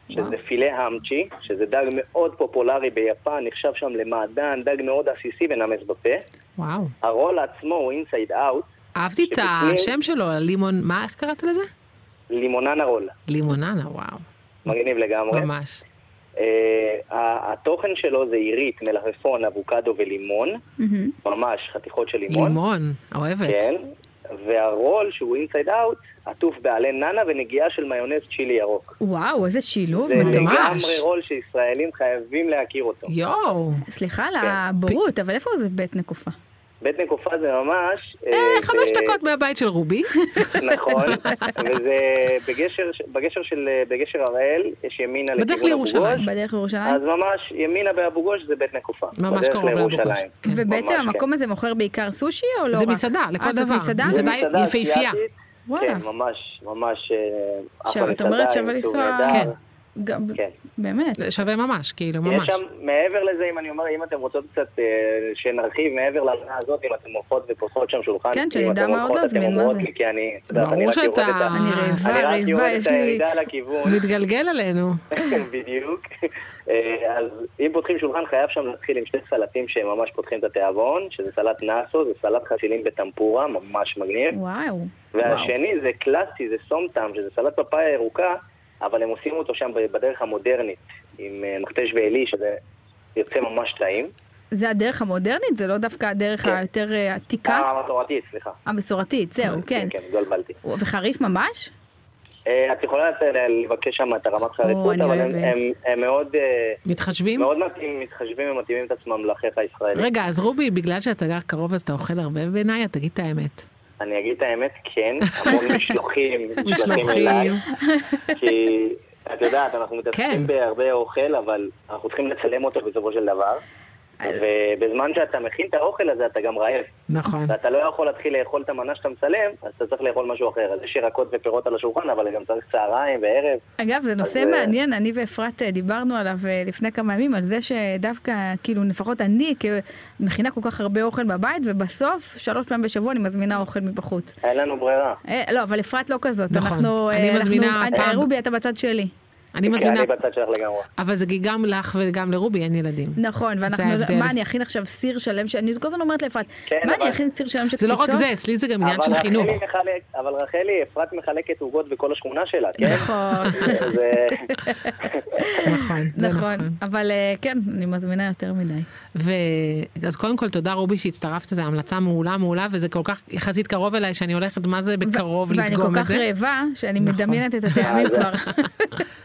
Speaker 5: שזה פילה האמצ'י, שזה דג מאוד פופולרי ביפן, נחשב שם למעדן, דג מאוד עסיסי ונמס בפה.
Speaker 3: וואו.
Speaker 5: הרול עצמו הוא אינסייד אאוט,
Speaker 3: אהבתי את
Speaker 5: שבפנים-
Speaker 3: השם שלו, לימון, מה, איך קראת לזה?
Speaker 5: לימוננה רול.
Speaker 3: לימוננה, וואו.
Speaker 5: מגניב לגמרי.
Speaker 3: ממש.
Speaker 5: אה, ה- התוכן שלו זה עירית, מלפפון, אבוקדו ולימון,
Speaker 4: מהמם.
Speaker 5: ממש חתיכות של לימון.
Speaker 3: לימון, אוהבת.
Speaker 5: כן, והרול שהוא אינסייד אאוט, עטוף בעלי נאנה ונגיעה של מיונז צ'ילי ירוק.
Speaker 4: וואו, איזה שילוב
Speaker 5: זה
Speaker 3: מטורף.
Speaker 4: מטורף.
Speaker 5: לגמרי רול שישראלים חייבים להכיר אותו.
Speaker 3: אה, יואו.
Speaker 5: אה, כן.
Speaker 4: סליחה על הבורות, אבל איפה זה בית נקופה?
Speaker 5: בית נקופה זה ממש... אה,
Speaker 3: אה,
Speaker 5: ב-
Speaker 3: חמש דקות מהבית של רובי.
Speaker 5: נכון, וזה בגשר, בגשר של, אה, בגשר הראל, יש ימינה
Speaker 3: בדרך
Speaker 5: לכיוון אבו
Speaker 3: לירושלים.
Speaker 5: גוש,
Speaker 4: בדרך לירושלים?
Speaker 5: אז ממש ימינה באבו גוש זה בית נקופה.
Speaker 3: ממש
Speaker 5: בדרך
Speaker 3: קרוב לאבו גוש.
Speaker 5: לירושלים.
Speaker 3: כן.
Speaker 4: ובעצם
Speaker 5: ממש,
Speaker 4: המקום הזה מוכר בעיקר סושי או לא רק?
Speaker 3: זה מסעדה, לכל
Speaker 4: אה, זאת
Speaker 3: דבר.
Speaker 4: מסעדה?
Speaker 3: זה
Speaker 5: זה
Speaker 3: בעיה
Speaker 5: מסעדה
Speaker 3: יפהפייה.
Speaker 5: אסיאתית,
Speaker 4: וואלה.
Speaker 5: כן, ממש, ממש... אה,
Speaker 4: עכשיו,
Speaker 5: אחלה
Speaker 4: את אומרת
Speaker 5: מסעדה,
Speaker 4: שווה
Speaker 5: עם טוב
Speaker 4: לנסוע-
Speaker 5: נהדר.
Speaker 3: כן.
Speaker 4: גם-
Speaker 5: כן.
Speaker 4: באמת.
Speaker 3: שווה ממש, כאילו,
Speaker 5: יש
Speaker 3: ממש.
Speaker 5: שם, מעבר לזה, אם אני אומר, אם אתם רוצות קצת אה, שנרחיב מעבר למנה הזאת, אם אתם הולכות ופותחות שם שולחן,
Speaker 4: כן,
Speaker 5: אם
Speaker 4: שנדע
Speaker 5: אתם
Speaker 4: מה עוד
Speaker 5: הולכות,
Speaker 4: להזמין,
Speaker 5: אתם
Speaker 4: מה
Speaker 5: אומרות
Speaker 4: זה?
Speaker 5: לי, כי אני, את יודעת, אני
Speaker 3: ברור
Speaker 5: רק יורד
Speaker 3: שאתה-
Speaker 5: את ה...
Speaker 4: אני רעבה,
Speaker 5: אני רק
Speaker 4: רעבה,
Speaker 5: יורד
Speaker 4: יש
Speaker 5: את
Speaker 4: לי...
Speaker 5: הירידה לכיוון,
Speaker 3: מתגלגל עלינו.
Speaker 5: בדיוק. אה, אז אם פותחים שולחן, חייב שם להתחיל עם שני סלטים שממש פותחים את התיאבון, שזה סלט נאסו, זה סלט חצילים בטמפורה, ממש מגניב.
Speaker 4: וואו.
Speaker 5: והשני זה קלאסי, זה סומטם, שזה סלט פפאיה ירוקה, אבל הם עושים אותו שם בדרך המודרנית, עם אה, מכתש ועלי, שזה יוצא ממש טעים.
Speaker 4: זה הדרך המודרנית? זה לא דווקא הדרך
Speaker 5: כן.
Speaker 4: היותר אה, עתיקה?
Speaker 5: אה, המסורתית, סליחה.
Speaker 4: המסורתית, זהו, כן.
Speaker 5: כן, גולבלתי.
Speaker 4: וחריף ממש?
Speaker 5: אה, את יכולה לצאת, אה, לבקש שם את הרמת חריפות,
Speaker 4: אני
Speaker 5: אבל הם-
Speaker 4: אוהבת.
Speaker 5: הם- הם מאוד... אה,
Speaker 3: מתחשבים?
Speaker 5: מאוד מתאים, מתחשבים ומתאימים את עצמם לחיך הישראלי.
Speaker 3: רגע, אז רובי, בגלל שאתה גר קרוב אז אתה אוכל הרבה בעיניי, אז תגיד את האמת.
Speaker 5: אני אגיד את האמת, כן, המון משלוחים, משלוחים אליי,
Speaker 3: משלוחים.
Speaker 5: כי את יודעת, אנחנו מתעסקים
Speaker 3: כן.
Speaker 5: בהרבה אוכל, אבל אנחנו צריכים לצלם אותו בסופו של דבר, ובזמן שאתה מכין את האוכל הזה, אתה גם רעב.
Speaker 3: נכון.
Speaker 5: ואתה לא יכול להתחיל לאכול את המנה שאתה מצלם, אז אתה צריך לאכול משהו אחר. אז יש ירקות ופירות על השולחן, אבל גם צריך צהריים וערב.
Speaker 4: אגב, זה נושא
Speaker 5: אה,
Speaker 4: מעניין, אני ואפרת אה, דיברנו עליו אה, לפני כמה ימים, על זה שדווקא, כאילו, לפחות אני מכינה כל כך הרבה אוכל בבית, ובסוף, שלוש פעמים בשבוע אני מזמינה אוכל מבחוץ.
Speaker 5: אין לנו ברירה.
Speaker 4: אה, לא, אבל אפרת לא כזאת.
Speaker 3: נכון.
Speaker 4: אנחנו... אה,
Speaker 3: אני
Speaker 4: אנחנו-
Speaker 3: מזמינה
Speaker 4: אה,
Speaker 3: פעם-
Speaker 4: רובי, אתה בצד שלי.
Speaker 3: אני
Speaker 5: כן,
Speaker 3: מזמינה,
Speaker 5: אני בצד שלך לגמרי.
Speaker 3: אבל זה כי גם לך וגם לרובי אין ילדים.
Speaker 4: נכון, ואנחנו,
Speaker 3: ההבדל.
Speaker 4: מה אני אכין עכשיו סיר שלם, ש- אני כל הזמן אומרת לאפרת,
Speaker 5: כן,
Speaker 4: מה אני
Speaker 5: אבל-
Speaker 4: אכין סיר שלם של
Speaker 3: זה
Speaker 4: קציצות?
Speaker 3: לא רק זה, אצלי זה גם עניין
Speaker 5: אבל
Speaker 3: של
Speaker 5: רחלי
Speaker 3: חינוך.
Speaker 5: מחלק- אבל רחלי, אפרת מחלקת עוגות בכל השכונה שלה, כן? אה,
Speaker 4: נכון,
Speaker 5: זה-
Speaker 3: נכון, זה
Speaker 4: נכון, אבל אה, כן, אני מזמינה יותר מדי.
Speaker 3: ו- אז קודם כל תודה רובי שהצטרפת, זו המלצה מעולה מעולה, וזה כל כך יחסית קרוב אליי, שאני הולכת מה זה בקרוב
Speaker 4: ו- ואני כל
Speaker 3: לדגום את
Speaker 4: כך
Speaker 3: זה.
Speaker 4: רעבה, שאני
Speaker 3: נכון.
Speaker 4: מדמיינת את הטעמים
Speaker 5: אז-
Speaker 4: כבר.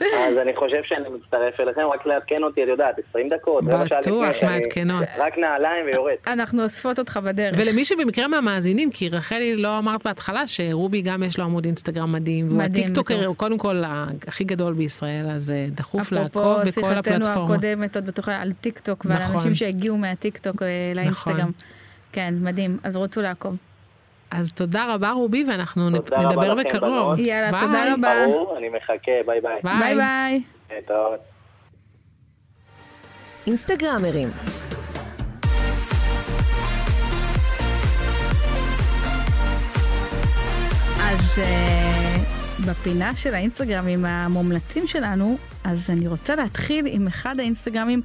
Speaker 5: אז אני חושב שאני מצטרף אליכם, רק לעדכן אותי, את יודעת, 20 דקות, רבע שעה לפני
Speaker 3: בטוח,
Speaker 5: שאני-
Speaker 3: מעדכנות.
Speaker 5: רק נעליים ויורד.
Speaker 4: אנחנו אוספות אותך בדרך.
Speaker 3: ולמי שבמקרה מהמאזינים, כי רחלי לא אמרת בהתחלה שרובי גם יש לו עמוד אינסטגרם מדהים, והוא
Speaker 4: מדהים,
Speaker 3: הטיקטוקר,
Speaker 4: מטורף.
Speaker 3: הוא קודם כל ה- הכי גדול בישראל, אז אה, דחוף לעקוב
Speaker 4: אפרופו
Speaker 3: בכל
Speaker 4: שיחתנו
Speaker 3: הפלטפורמה.
Speaker 4: הקודמת, עוד בטוחה, על טיק טוק ועל
Speaker 3: נכון.
Speaker 4: אנשים שהגיעו מהטיק טוק אה, לאינסטגרם.
Speaker 3: נכון.
Speaker 4: כן, מדהים, אז רוצו לעקוב.
Speaker 3: אז תודה רבה רובי, ואנחנו נ-
Speaker 5: תודה רבה
Speaker 3: נדבר
Speaker 5: לכם,
Speaker 3: בקרוב.
Speaker 5: בנות.
Speaker 4: יאללה, תודה
Speaker 3: ביי.
Speaker 4: רבה.
Speaker 5: ברור, אני מחכה, ביי ביי.
Speaker 3: ביי.
Speaker 4: ביי ביי.
Speaker 5: טוב.
Speaker 1: אינסטגרמרים.
Speaker 4: אז אה, בפינה של האינסטגרם עם המומלצים שלנו, אז אני רוצה להתחיל עם אחד האינסטגרמים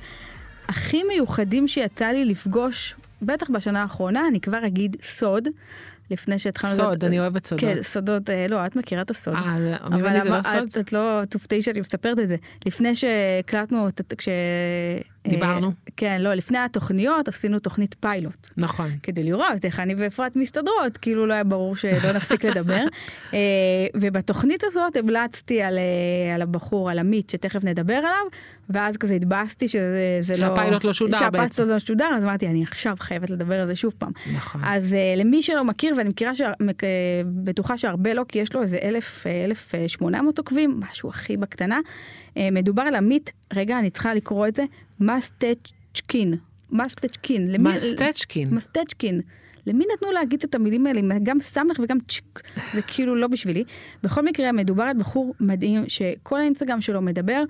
Speaker 4: הכי מיוחדים שיצא לי לפגוש, בטח בשנה האחרונה, אני כבר אגיד סוד, לפני שהתחלנו...
Speaker 3: סוד, אני אוהבת סודות.
Speaker 4: כן, סודות, אה, לא, את מכירה את הסוד.
Speaker 3: אה, זה-
Speaker 4: אבל
Speaker 3: נראה לי זה לא
Speaker 4: אמר-
Speaker 3: סוד?
Speaker 4: את, את לא תופתעי שאני מספרת את זה. לפני שהקלטנו, את- כש...
Speaker 3: דיברנו.
Speaker 4: אה, כן, לא, לפני התוכניות עשינו תוכנית פיילוט.
Speaker 3: נכון.
Speaker 4: כדי לראות איך אני ואפרת מסתדרות, כאילו לא היה ברור שלא נפסיק לדבר. אה, ובתוכנית הזאת המלצתי על, אה, על הבחור, על עמית, שתכף נדבר עליו, ואז כזה התבאסתי שזה זה לא...
Speaker 3: שהפיילוט לא שודר
Speaker 4: שהפיילוט
Speaker 3: בעצם.
Speaker 4: לא שודר, אז אמרתי, אני עכשיו חייבת לדבר על זה שוב פעם.
Speaker 3: נכון.
Speaker 4: אז אה, למי שלא מכיר, ואני מכירה, ש... מק- אה, בטוחה שהרבה לא, כי יש לו איזה אלף, אה, אלף שמונה מאות עוקבים, משהו הכי בקטנה. אה, מדובר על עמית, רגע, אני צריכה לקרוא את זה, מסטצ'קין. מסטצ'קין. למי-
Speaker 3: מסטצ'קין.
Speaker 4: מסטצ'קין. למי נתנו להגיד את המילים האלה, עם גם סמך וגם צ'ק, זה כאילו לא בשבילי. בכל מקרה, מדובר על בחור מדהים, שכל האינסטגרם שלו מדבר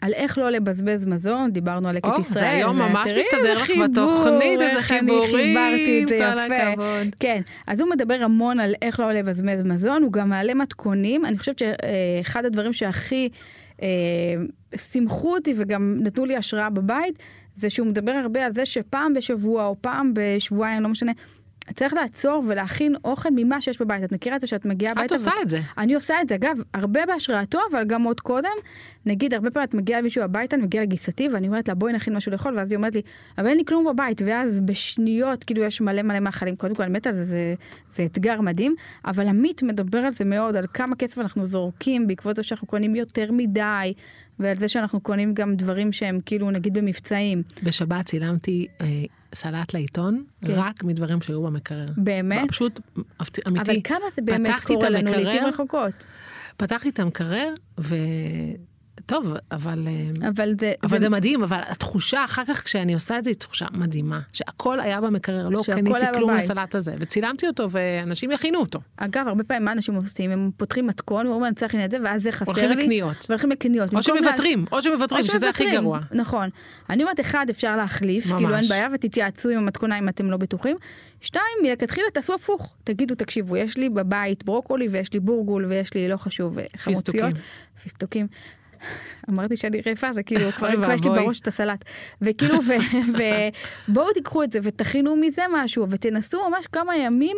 Speaker 4: על איך לא לבזבז מזון, דיברנו על לקט
Speaker 3: או,
Speaker 4: ישראל.
Speaker 3: אוקיי, זה היום ממש
Speaker 4: תראי איזה
Speaker 3: מסתדר לך
Speaker 4: חיבור,
Speaker 3: בתוכנית, איזה
Speaker 4: איך אני
Speaker 3: חיבורים,
Speaker 4: חיברתי את זה
Speaker 3: כל
Speaker 4: יפה.
Speaker 3: הכבוד.
Speaker 4: כן, אז הוא מדבר המון על איך לא לבזבז מזון, הוא גם מעלה מתכונים, אני חושבת שאחד הדברים שהכי אה, שימחו אותי וגם נתנו לי השראה בבית, זה שהוא מדבר הרבה על זה שפעם בשבוע או פעם בשבועיים, לא משנה, צריך לעצור ולהכין אוכל ממה שיש בבית. את מכירה את זה שאת מגיעה
Speaker 3: את
Speaker 4: הביתה?
Speaker 3: עושה את זה.
Speaker 4: אני עושה את זה, אגב, הרבה בהשראתו, אבל גם עוד קודם. נגיד, הרבה פעמים את מגיעה למישהו הביתה, אני מגיעה לגיסתי, ואני אומרת לה, בואי נכין משהו לאכול, ואז היא אומרת לי, אבל אין לי כלום בבית, ואז בשניות, כאילו, יש מלא מלא מאכלים. קודם כל, אני מתה על זה, זה, זה אתגר מדהים, אבל עמית מדבר על זה מאוד, על כמה כסף אנחנו זורקים בעקבות זה שאנחנו קונים יותר מדי, ועל זה שאנחנו קונים גם דברים שהם כאילו, נגיד, במבצעים.
Speaker 3: בשבת צילמתי אה, סלט לעיתון,
Speaker 4: כן.
Speaker 3: רק מדברים שהיו במקרר. לא,
Speaker 4: באמת?
Speaker 3: פשוט לא, אמיתי.
Speaker 4: אבל כמה זה באמת
Speaker 3: פתחתי את
Speaker 4: קורה לנו
Speaker 3: המקרר,
Speaker 4: לעיתים רחוקות.
Speaker 3: פתחתי את המקרר, וטוב, אבל... אה,
Speaker 4: אבל זה...
Speaker 3: אבל זה מדהים, אבל התחושה אחר כך כשאני עושה את זה היא תחושה מדהימה, שהכל היה במקרר, לא
Speaker 4: שהכל
Speaker 3: קניתי
Speaker 4: היה
Speaker 3: כלום
Speaker 4: בבית.
Speaker 3: לסלט הזה, וצילמתי אותו ואנשים יכינו אותו.
Speaker 4: אגב, הרבה פעמים מה אנשים עושים? הם פותחים מתכון, ואומרים, אני צריך להכין את זה, ואז זה חסר לי.
Speaker 3: הולכים לקניות.
Speaker 4: והולכים לקניות.
Speaker 3: או
Speaker 4: במקום לה-
Speaker 3: שמוותרים, או שמוותרים,
Speaker 4: או
Speaker 3: שזה הכי
Speaker 4: שמוותרים,
Speaker 3: גרוע.
Speaker 4: נכון. אני אומרת, אחד, אפשר להחליף,
Speaker 3: ממש.
Speaker 4: כאילו אין בעיה, ותתייעצו עם המתכונה אם אתם לא בטוחים. שתיים, מלכתחילה תעשו הפוך. תגידו, תקשיבו, יש לי בבית ברוקולי, ויש לי בורגול, ויש לי, לא חשוב, אה, חמוציות. פיסטוקים. אמרתי שאני רעפה, זה כאילו, כבר
Speaker 3: אוי
Speaker 4: כבר יש לי
Speaker 3: ואבוי.
Speaker 4: בראש את הסלט. וכאילו, ובואו תיקחו את זה ותכינו מזה משהו, ותנסו ממש כמה ימים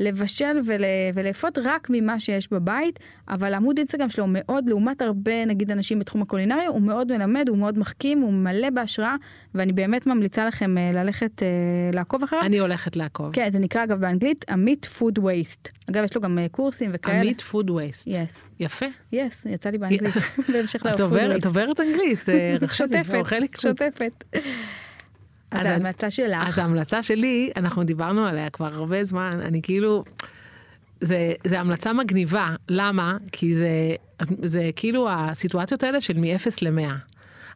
Speaker 4: לבשל ול, ולאפות רק ממה שיש בבית, אבל עמוד אינסטגרם שלו מאוד, לעומת הרבה, נגיד, אנשים בתחום הקולינריה, הוא מאוד מלמד, הוא מאוד מחכים, הוא מלא בהשראה, ואני באמת ממליצה לכם אה, ללכת אה, לעקוב אחריו.
Speaker 3: אני הולכת לעקוב.
Speaker 4: כן, זה נקרא אגב באנגלית עמית פוד וייסט. אגב, יש לו גם אה, קורסים וכאלה.
Speaker 3: עמית פוד וייסט.
Speaker 4: יס,
Speaker 3: יפה.
Speaker 4: יס, יצא לי באנגלית,
Speaker 3: את
Speaker 4: בהמשך ל-food
Speaker 3: עוברת-
Speaker 4: לא waste.
Speaker 3: את עוברת אנגלית. אה, רחלי,
Speaker 4: שוטפת,
Speaker 3: אורחלי קרוץ.
Speaker 4: שוטפת. אז
Speaker 3: אז אני-
Speaker 4: ההמלצה
Speaker 3: אז
Speaker 4: שלך,
Speaker 3: ההמלצה שלי, אנחנו דיברנו עליה כבר הרבה זמן, אני כאילו, זה, זה המלצה מגניבה, למה? כי זה, זה כאילו הסיטואציות האלה של מ-0 ל-100.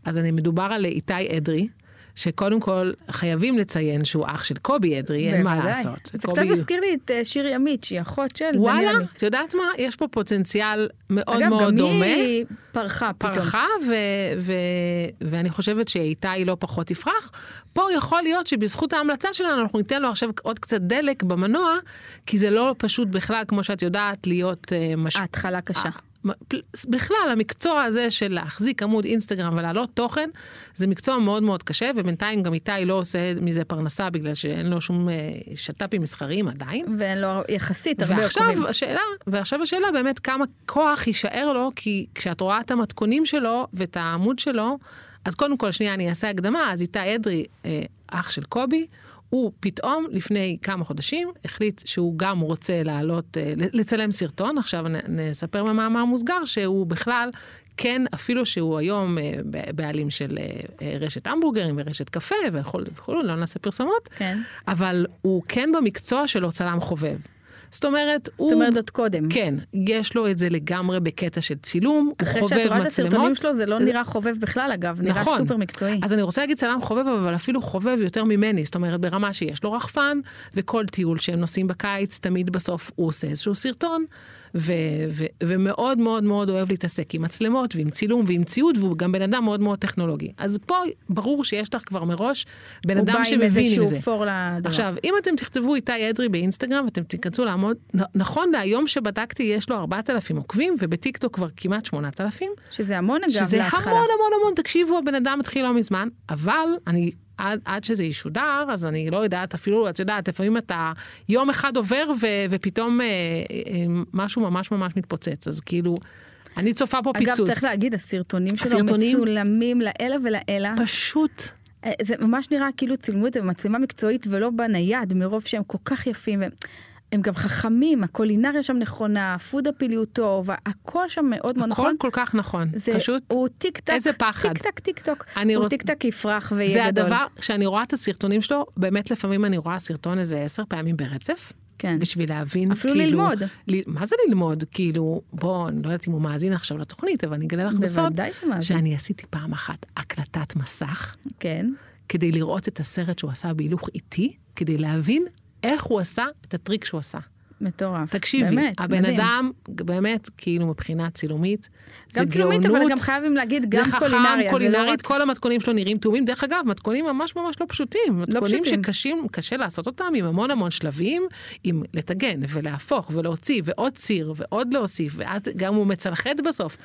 Speaker 3: אז אני מדובר על איתי אדרי. שקודם כל חייבים לציין שהוא אח של קובי אדרי, אין מה
Speaker 4: בוודאי.
Speaker 3: לעשות.
Speaker 4: זה קצת
Speaker 3: קובי-
Speaker 4: מזכיר לי את אה, שירי עמית, שהיא אחות של דניאל
Speaker 3: וואלה,
Speaker 4: עמית.
Speaker 3: את יודעת מה? יש פה פוטנציאל מאוד
Speaker 4: אגב,
Speaker 3: מאוד
Speaker 4: גם
Speaker 3: דומה.
Speaker 4: היא פרחה פתאום.
Speaker 3: פרחה, ו- ו- ואני חושבת שאיתי לא פחות תפרח. פה יכול להיות שבזכות ההמלצה שלנו אנחנו ניתן לו עכשיו עוד קצת דלק במנוע, כי זה לא פשוט בכלל, כמו שאת יודעת, להיות אה, מש...
Speaker 4: ההתחלה קשה.
Speaker 3: בכלל, המקצוע הזה של להחזיק עמוד אינסטגרם ולהעלות תוכן, זה מקצוע מאוד מאוד קשה, ובינתיים גם איתי לא עושה מזה פרנסה בגלל שאין לו שום אה, שת"פים מסחריים עדיין.
Speaker 4: ואין לו יחסית הרבה
Speaker 3: ועכשיו
Speaker 4: עוקבים.
Speaker 3: השאלה, ועכשיו השאלה באמת כמה כוח יישאר לו, כי כשאת רואה את המתכונים שלו ואת העמוד שלו, אז קודם כל, שנייה, אני אעשה הקדמה, אז איתי אדרי, אה, אח של קובי, הוא פתאום, לפני כמה חודשים, החליט שהוא גם רוצה לעלות, אה, לצלם סרטון. עכשיו נ- נספר במאמר מוסגר שהוא בכלל, כן, אפילו שהוא היום אה, ב- בעלים של אה, אה, רשת המבורגרים ורשת קפה וכו', וכו', לא נעשה פרסומות,
Speaker 4: כן.
Speaker 3: אבל הוא כן במקצוע שלו צלם חובב. זאת אומרת, הוא...
Speaker 4: זאת אומרת, עוד קודם.
Speaker 3: כן, יש לו את זה לגמרי בקטע של צילום, הוא חובב מצלמות. אה.
Speaker 4: אחרי שאת רואה את הסרטונים שלו, זה לא נראה חובב בכלל, אגב. נראה
Speaker 3: נכון.
Speaker 4: סופר מקצועי.
Speaker 3: אז אני רוצה להגיד צלם חובב, אבל אפילו חובב יותר ממני, זאת אומרת ברמה שיש לו רחפן, וכל טיול שהם נוסעים בקיץ, תמיד בסוף הוא עושה איזשהו סרטון, ו- ו- ומאוד מאוד מאוד אוהב להתעסק עם מצלמות, ועם צילום, ועם ציוד, והוא גם בן אדם מאוד מאוד טכנולוגי. אז פה ברור שיש לך כבר מראש בן
Speaker 4: הוא בא
Speaker 3: אדם
Speaker 4: עם
Speaker 3: שמבין עם זה.
Speaker 4: איזשהו פור לדבר.
Speaker 3: עכשיו, אם אתם תכתבו איתי אדרי באינסטגרם ואתם תיכנסו לעמוד, נ- נכון להיום שבדקתי יש לו 4,000 עוקבים ובטיקטוק כבר כמעט 8,000,
Speaker 4: שזה המון, אגב,
Speaker 3: שזה
Speaker 4: להתחלה.
Speaker 3: המון המון המון, תקשיבו, הבן אדם התחיל לא מזמן, אבל אני, עד, עד שזה ישודר, אז אני לא יודעת, אפילו, את יודעת, לפעמים אתה יום אחד עובר ו, ופתאום אה, אה, משהו ממש ממש מתפוצץ, אז כאילו, אני צופה פה
Speaker 4: אגב,
Speaker 3: פיצוץ.
Speaker 4: צריך להגיד, הסרטונים שלו
Speaker 3: הסרטונים-
Speaker 4: מצולמים לעילא ולעילא.
Speaker 3: פשוט
Speaker 4: אה, זה ממש נראה כאילו צילמו את זה במצלמה מקצועית ולא בנייד, מרוב שהם כל כך יפים. והם... הם גם חכמים, הקולינריה שם נכונה, הפוד הפיליות טוב, הכל שם מאוד מאוד
Speaker 3: הכל
Speaker 4: נכון.
Speaker 3: כל כך נכון,
Speaker 4: זה,
Speaker 3: פשוט.
Speaker 4: הוא טיק טק,
Speaker 3: איזה פחד.
Speaker 4: טיק טק טיק טוק,
Speaker 3: אני
Speaker 4: הוא
Speaker 3: רוצ-
Speaker 4: טיק טק יפרח ויהיה
Speaker 3: זה
Speaker 4: גדול.
Speaker 3: הדבר, כשאני רואה את הסרטונים שלו, באמת לפעמים אני רואה סרטון איזה עשר פעמים ברצף,
Speaker 4: כן.
Speaker 3: בשביל להבין,
Speaker 4: אפילו
Speaker 3: כאילו...
Speaker 4: ללמוד.
Speaker 3: ל... מה זה ללמוד? כאילו, בוא, אני לא יודעת אם הוא מאזין עכשיו לתוכנית, אבל אני אגלה לך בסוד,
Speaker 4: בוודאי שמאזין.
Speaker 3: שאני עשיתי פעם אחת הקלטת מסך,
Speaker 4: כן.
Speaker 3: כדי לראות את הסרט שהוא עשה בהילוך איטי, כדי להבין איך הוא עשה את הטריק שהוא עשה.
Speaker 4: מטורף.
Speaker 3: תקשיבי,
Speaker 4: באמת,
Speaker 3: הבן
Speaker 4: מדהים.
Speaker 3: אדם, באמת, כאילו מבחינה צילומית,
Speaker 4: גם
Speaker 3: זה
Speaker 4: צילומית, אבל
Speaker 3: גאונות.
Speaker 4: גם חייבים להגיד,
Speaker 3: זה
Speaker 4: גם
Speaker 3: חכם,
Speaker 4: קולינריה. זה לא
Speaker 3: קולינרית,
Speaker 4: רק-
Speaker 3: כל המתכונים שלו נראים תאומים. דרך אגב, מתכונים ממש ממש לא פשוטים. מתכונים
Speaker 4: פשוטים.
Speaker 3: שקשים, קשה לעשות אותם עם המון המון שלבים, עם לטגן ולהפוך ולהוציא ועוד ציר ועוד להוסיף, ואז גם הוא מצלחת בסוף.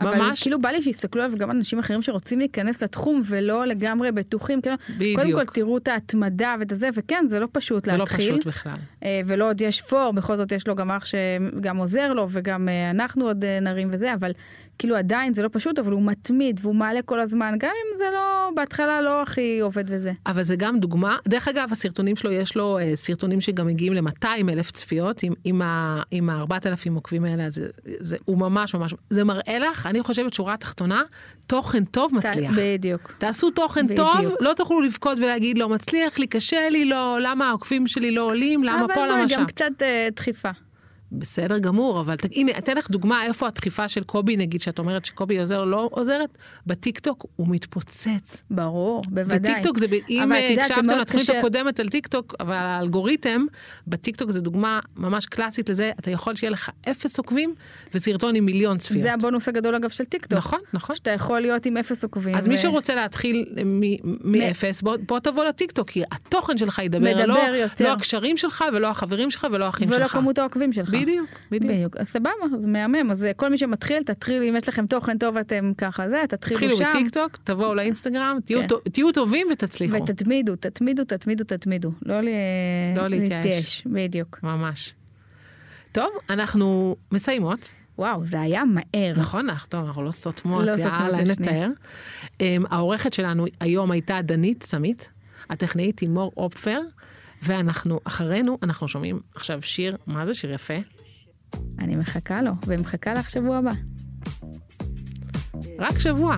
Speaker 4: אבל
Speaker 3: ממש,
Speaker 4: כאילו בא לי שיסתכלו עליו גם אנשים אחרים שרוצים להיכנס לתחום ולא לגמרי בטוחים. כאילו,
Speaker 3: בדיוק.
Speaker 4: קודם כל תראו את ההתמדה ואת הזה, וכן, זה לא פשוט
Speaker 3: זה לא
Speaker 4: להתחיל.
Speaker 3: פשוט בכלל.
Speaker 4: אה, ולא עוד יש פור, בכל זאת יש לו גם אח שגם עוזר לו, וגם אה, אנחנו עוד אה, נרים וזה, אבל כאילו עדיין זה לא פשוט, אבל הוא מתמיד והוא מעלה כל הזמן, גם אם זה לא, בהתחלה לא הכי עובד וזה.
Speaker 3: אבל זה גם דוגמה, דרך אגב, הסרטונים שלו, יש לו אה, סרטונים שגם מגיעים ל-200 אלף צפיות, עם, עם, ה- עם ה-4,000 עוקבים האלה, אז זה, זה, הוא ממש ממש, זה מראה לך, אני חושבת, שורה תחתונה, תוכן טוב מצליח.
Speaker 4: ת- בדיוק.
Speaker 3: תעשו תוכן
Speaker 4: בדיוק.
Speaker 3: טוב, לא תוכלו לבכות ולהגיד לא מצליח לי, קשה לי, לא, למה העוקבים שלי לא עולים, למה פה,
Speaker 4: אבל
Speaker 3: למה
Speaker 4: בואי,
Speaker 3: שם.
Speaker 4: גם קצת אה, דחיפה.
Speaker 3: בסדר גמור, אבל ת... הנה, אתן לך דוגמה איפה הדחיפה של קובי, נגיד, שאת אומרת שקובי עוזר או לא עוזרת, בטיקטוק הוא מתפוצץ.
Speaker 4: ברור, בוודאי.
Speaker 3: וטיקטוק זה, ב- אם
Speaker 4: אבל את
Speaker 3: אה,
Speaker 4: יודעת, זה
Speaker 3: הקשבתם
Speaker 4: מאוד
Speaker 3: לתוכנית
Speaker 4: קשה-
Speaker 3: הקודמת על טיקטוק, אבל האלגוריתם, בטיקטוק זה דוגמה ממש קלאסית לזה, אתה יכול שיהיה לך אפס עוקבים וסרטון עם מיליון צפיות.
Speaker 4: זה הבונוס הגדול אגב של טיקטוק.
Speaker 3: נכון, נכון.
Speaker 4: שאתה יכול להיות עם אפס עוקבים.
Speaker 3: אז מי
Speaker 4: ו-
Speaker 3: שרוצה להתחיל מ- מאפס, בוא, בוא תבוא לטיקטוק, כי התוכן שלך ידבר,
Speaker 4: מדבר
Speaker 3: לא,
Speaker 4: יותר.
Speaker 3: לא הקשרים שלך ולא החברים שלך ולא האחים
Speaker 4: ולא
Speaker 3: שלך.
Speaker 4: כמות העוקבים שלך.
Speaker 3: בדיוק, בדיוק.
Speaker 4: בדיוק. אז סבבה, אז מהמם. אז אה, כל מי שמתחיל, תתחיל, אם יש לכם תוכן טוב, אתם ככה זה, תתחילו
Speaker 3: תתחילו
Speaker 4: שם.
Speaker 3: בטיקטוק, תבואו לאינסטגרם, תהיו,
Speaker 4: כן.
Speaker 3: טוב, תהיו טובים ותצליחו.
Speaker 4: ותתמידו, תתמידו, תתמידו, תתמידו. לא, ל...
Speaker 3: לא להתייאש.
Speaker 4: בדיוק.
Speaker 3: ממש. טוב, אנחנו מסיימות,
Speaker 4: וואו, זה היה מהר.
Speaker 3: נכון? אנחנו, טוב, אנחנו לא סותמות,
Speaker 4: כן. לא סותמות,
Speaker 3: יאללה,
Speaker 4: זה
Speaker 3: נתאר.
Speaker 4: שנייה.
Speaker 3: אמ, העורכת שלנו היום הייתה דנית צמית, הטכנאית היא מור אופפר, ואנחנו, אחרינו, אנחנו שומעים עכשיו שיר, מה זה שיר יפה?
Speaker 4: אני מחכה לו, ומחכה לך שבוע הבא.
Speaker 3: רק שבוע.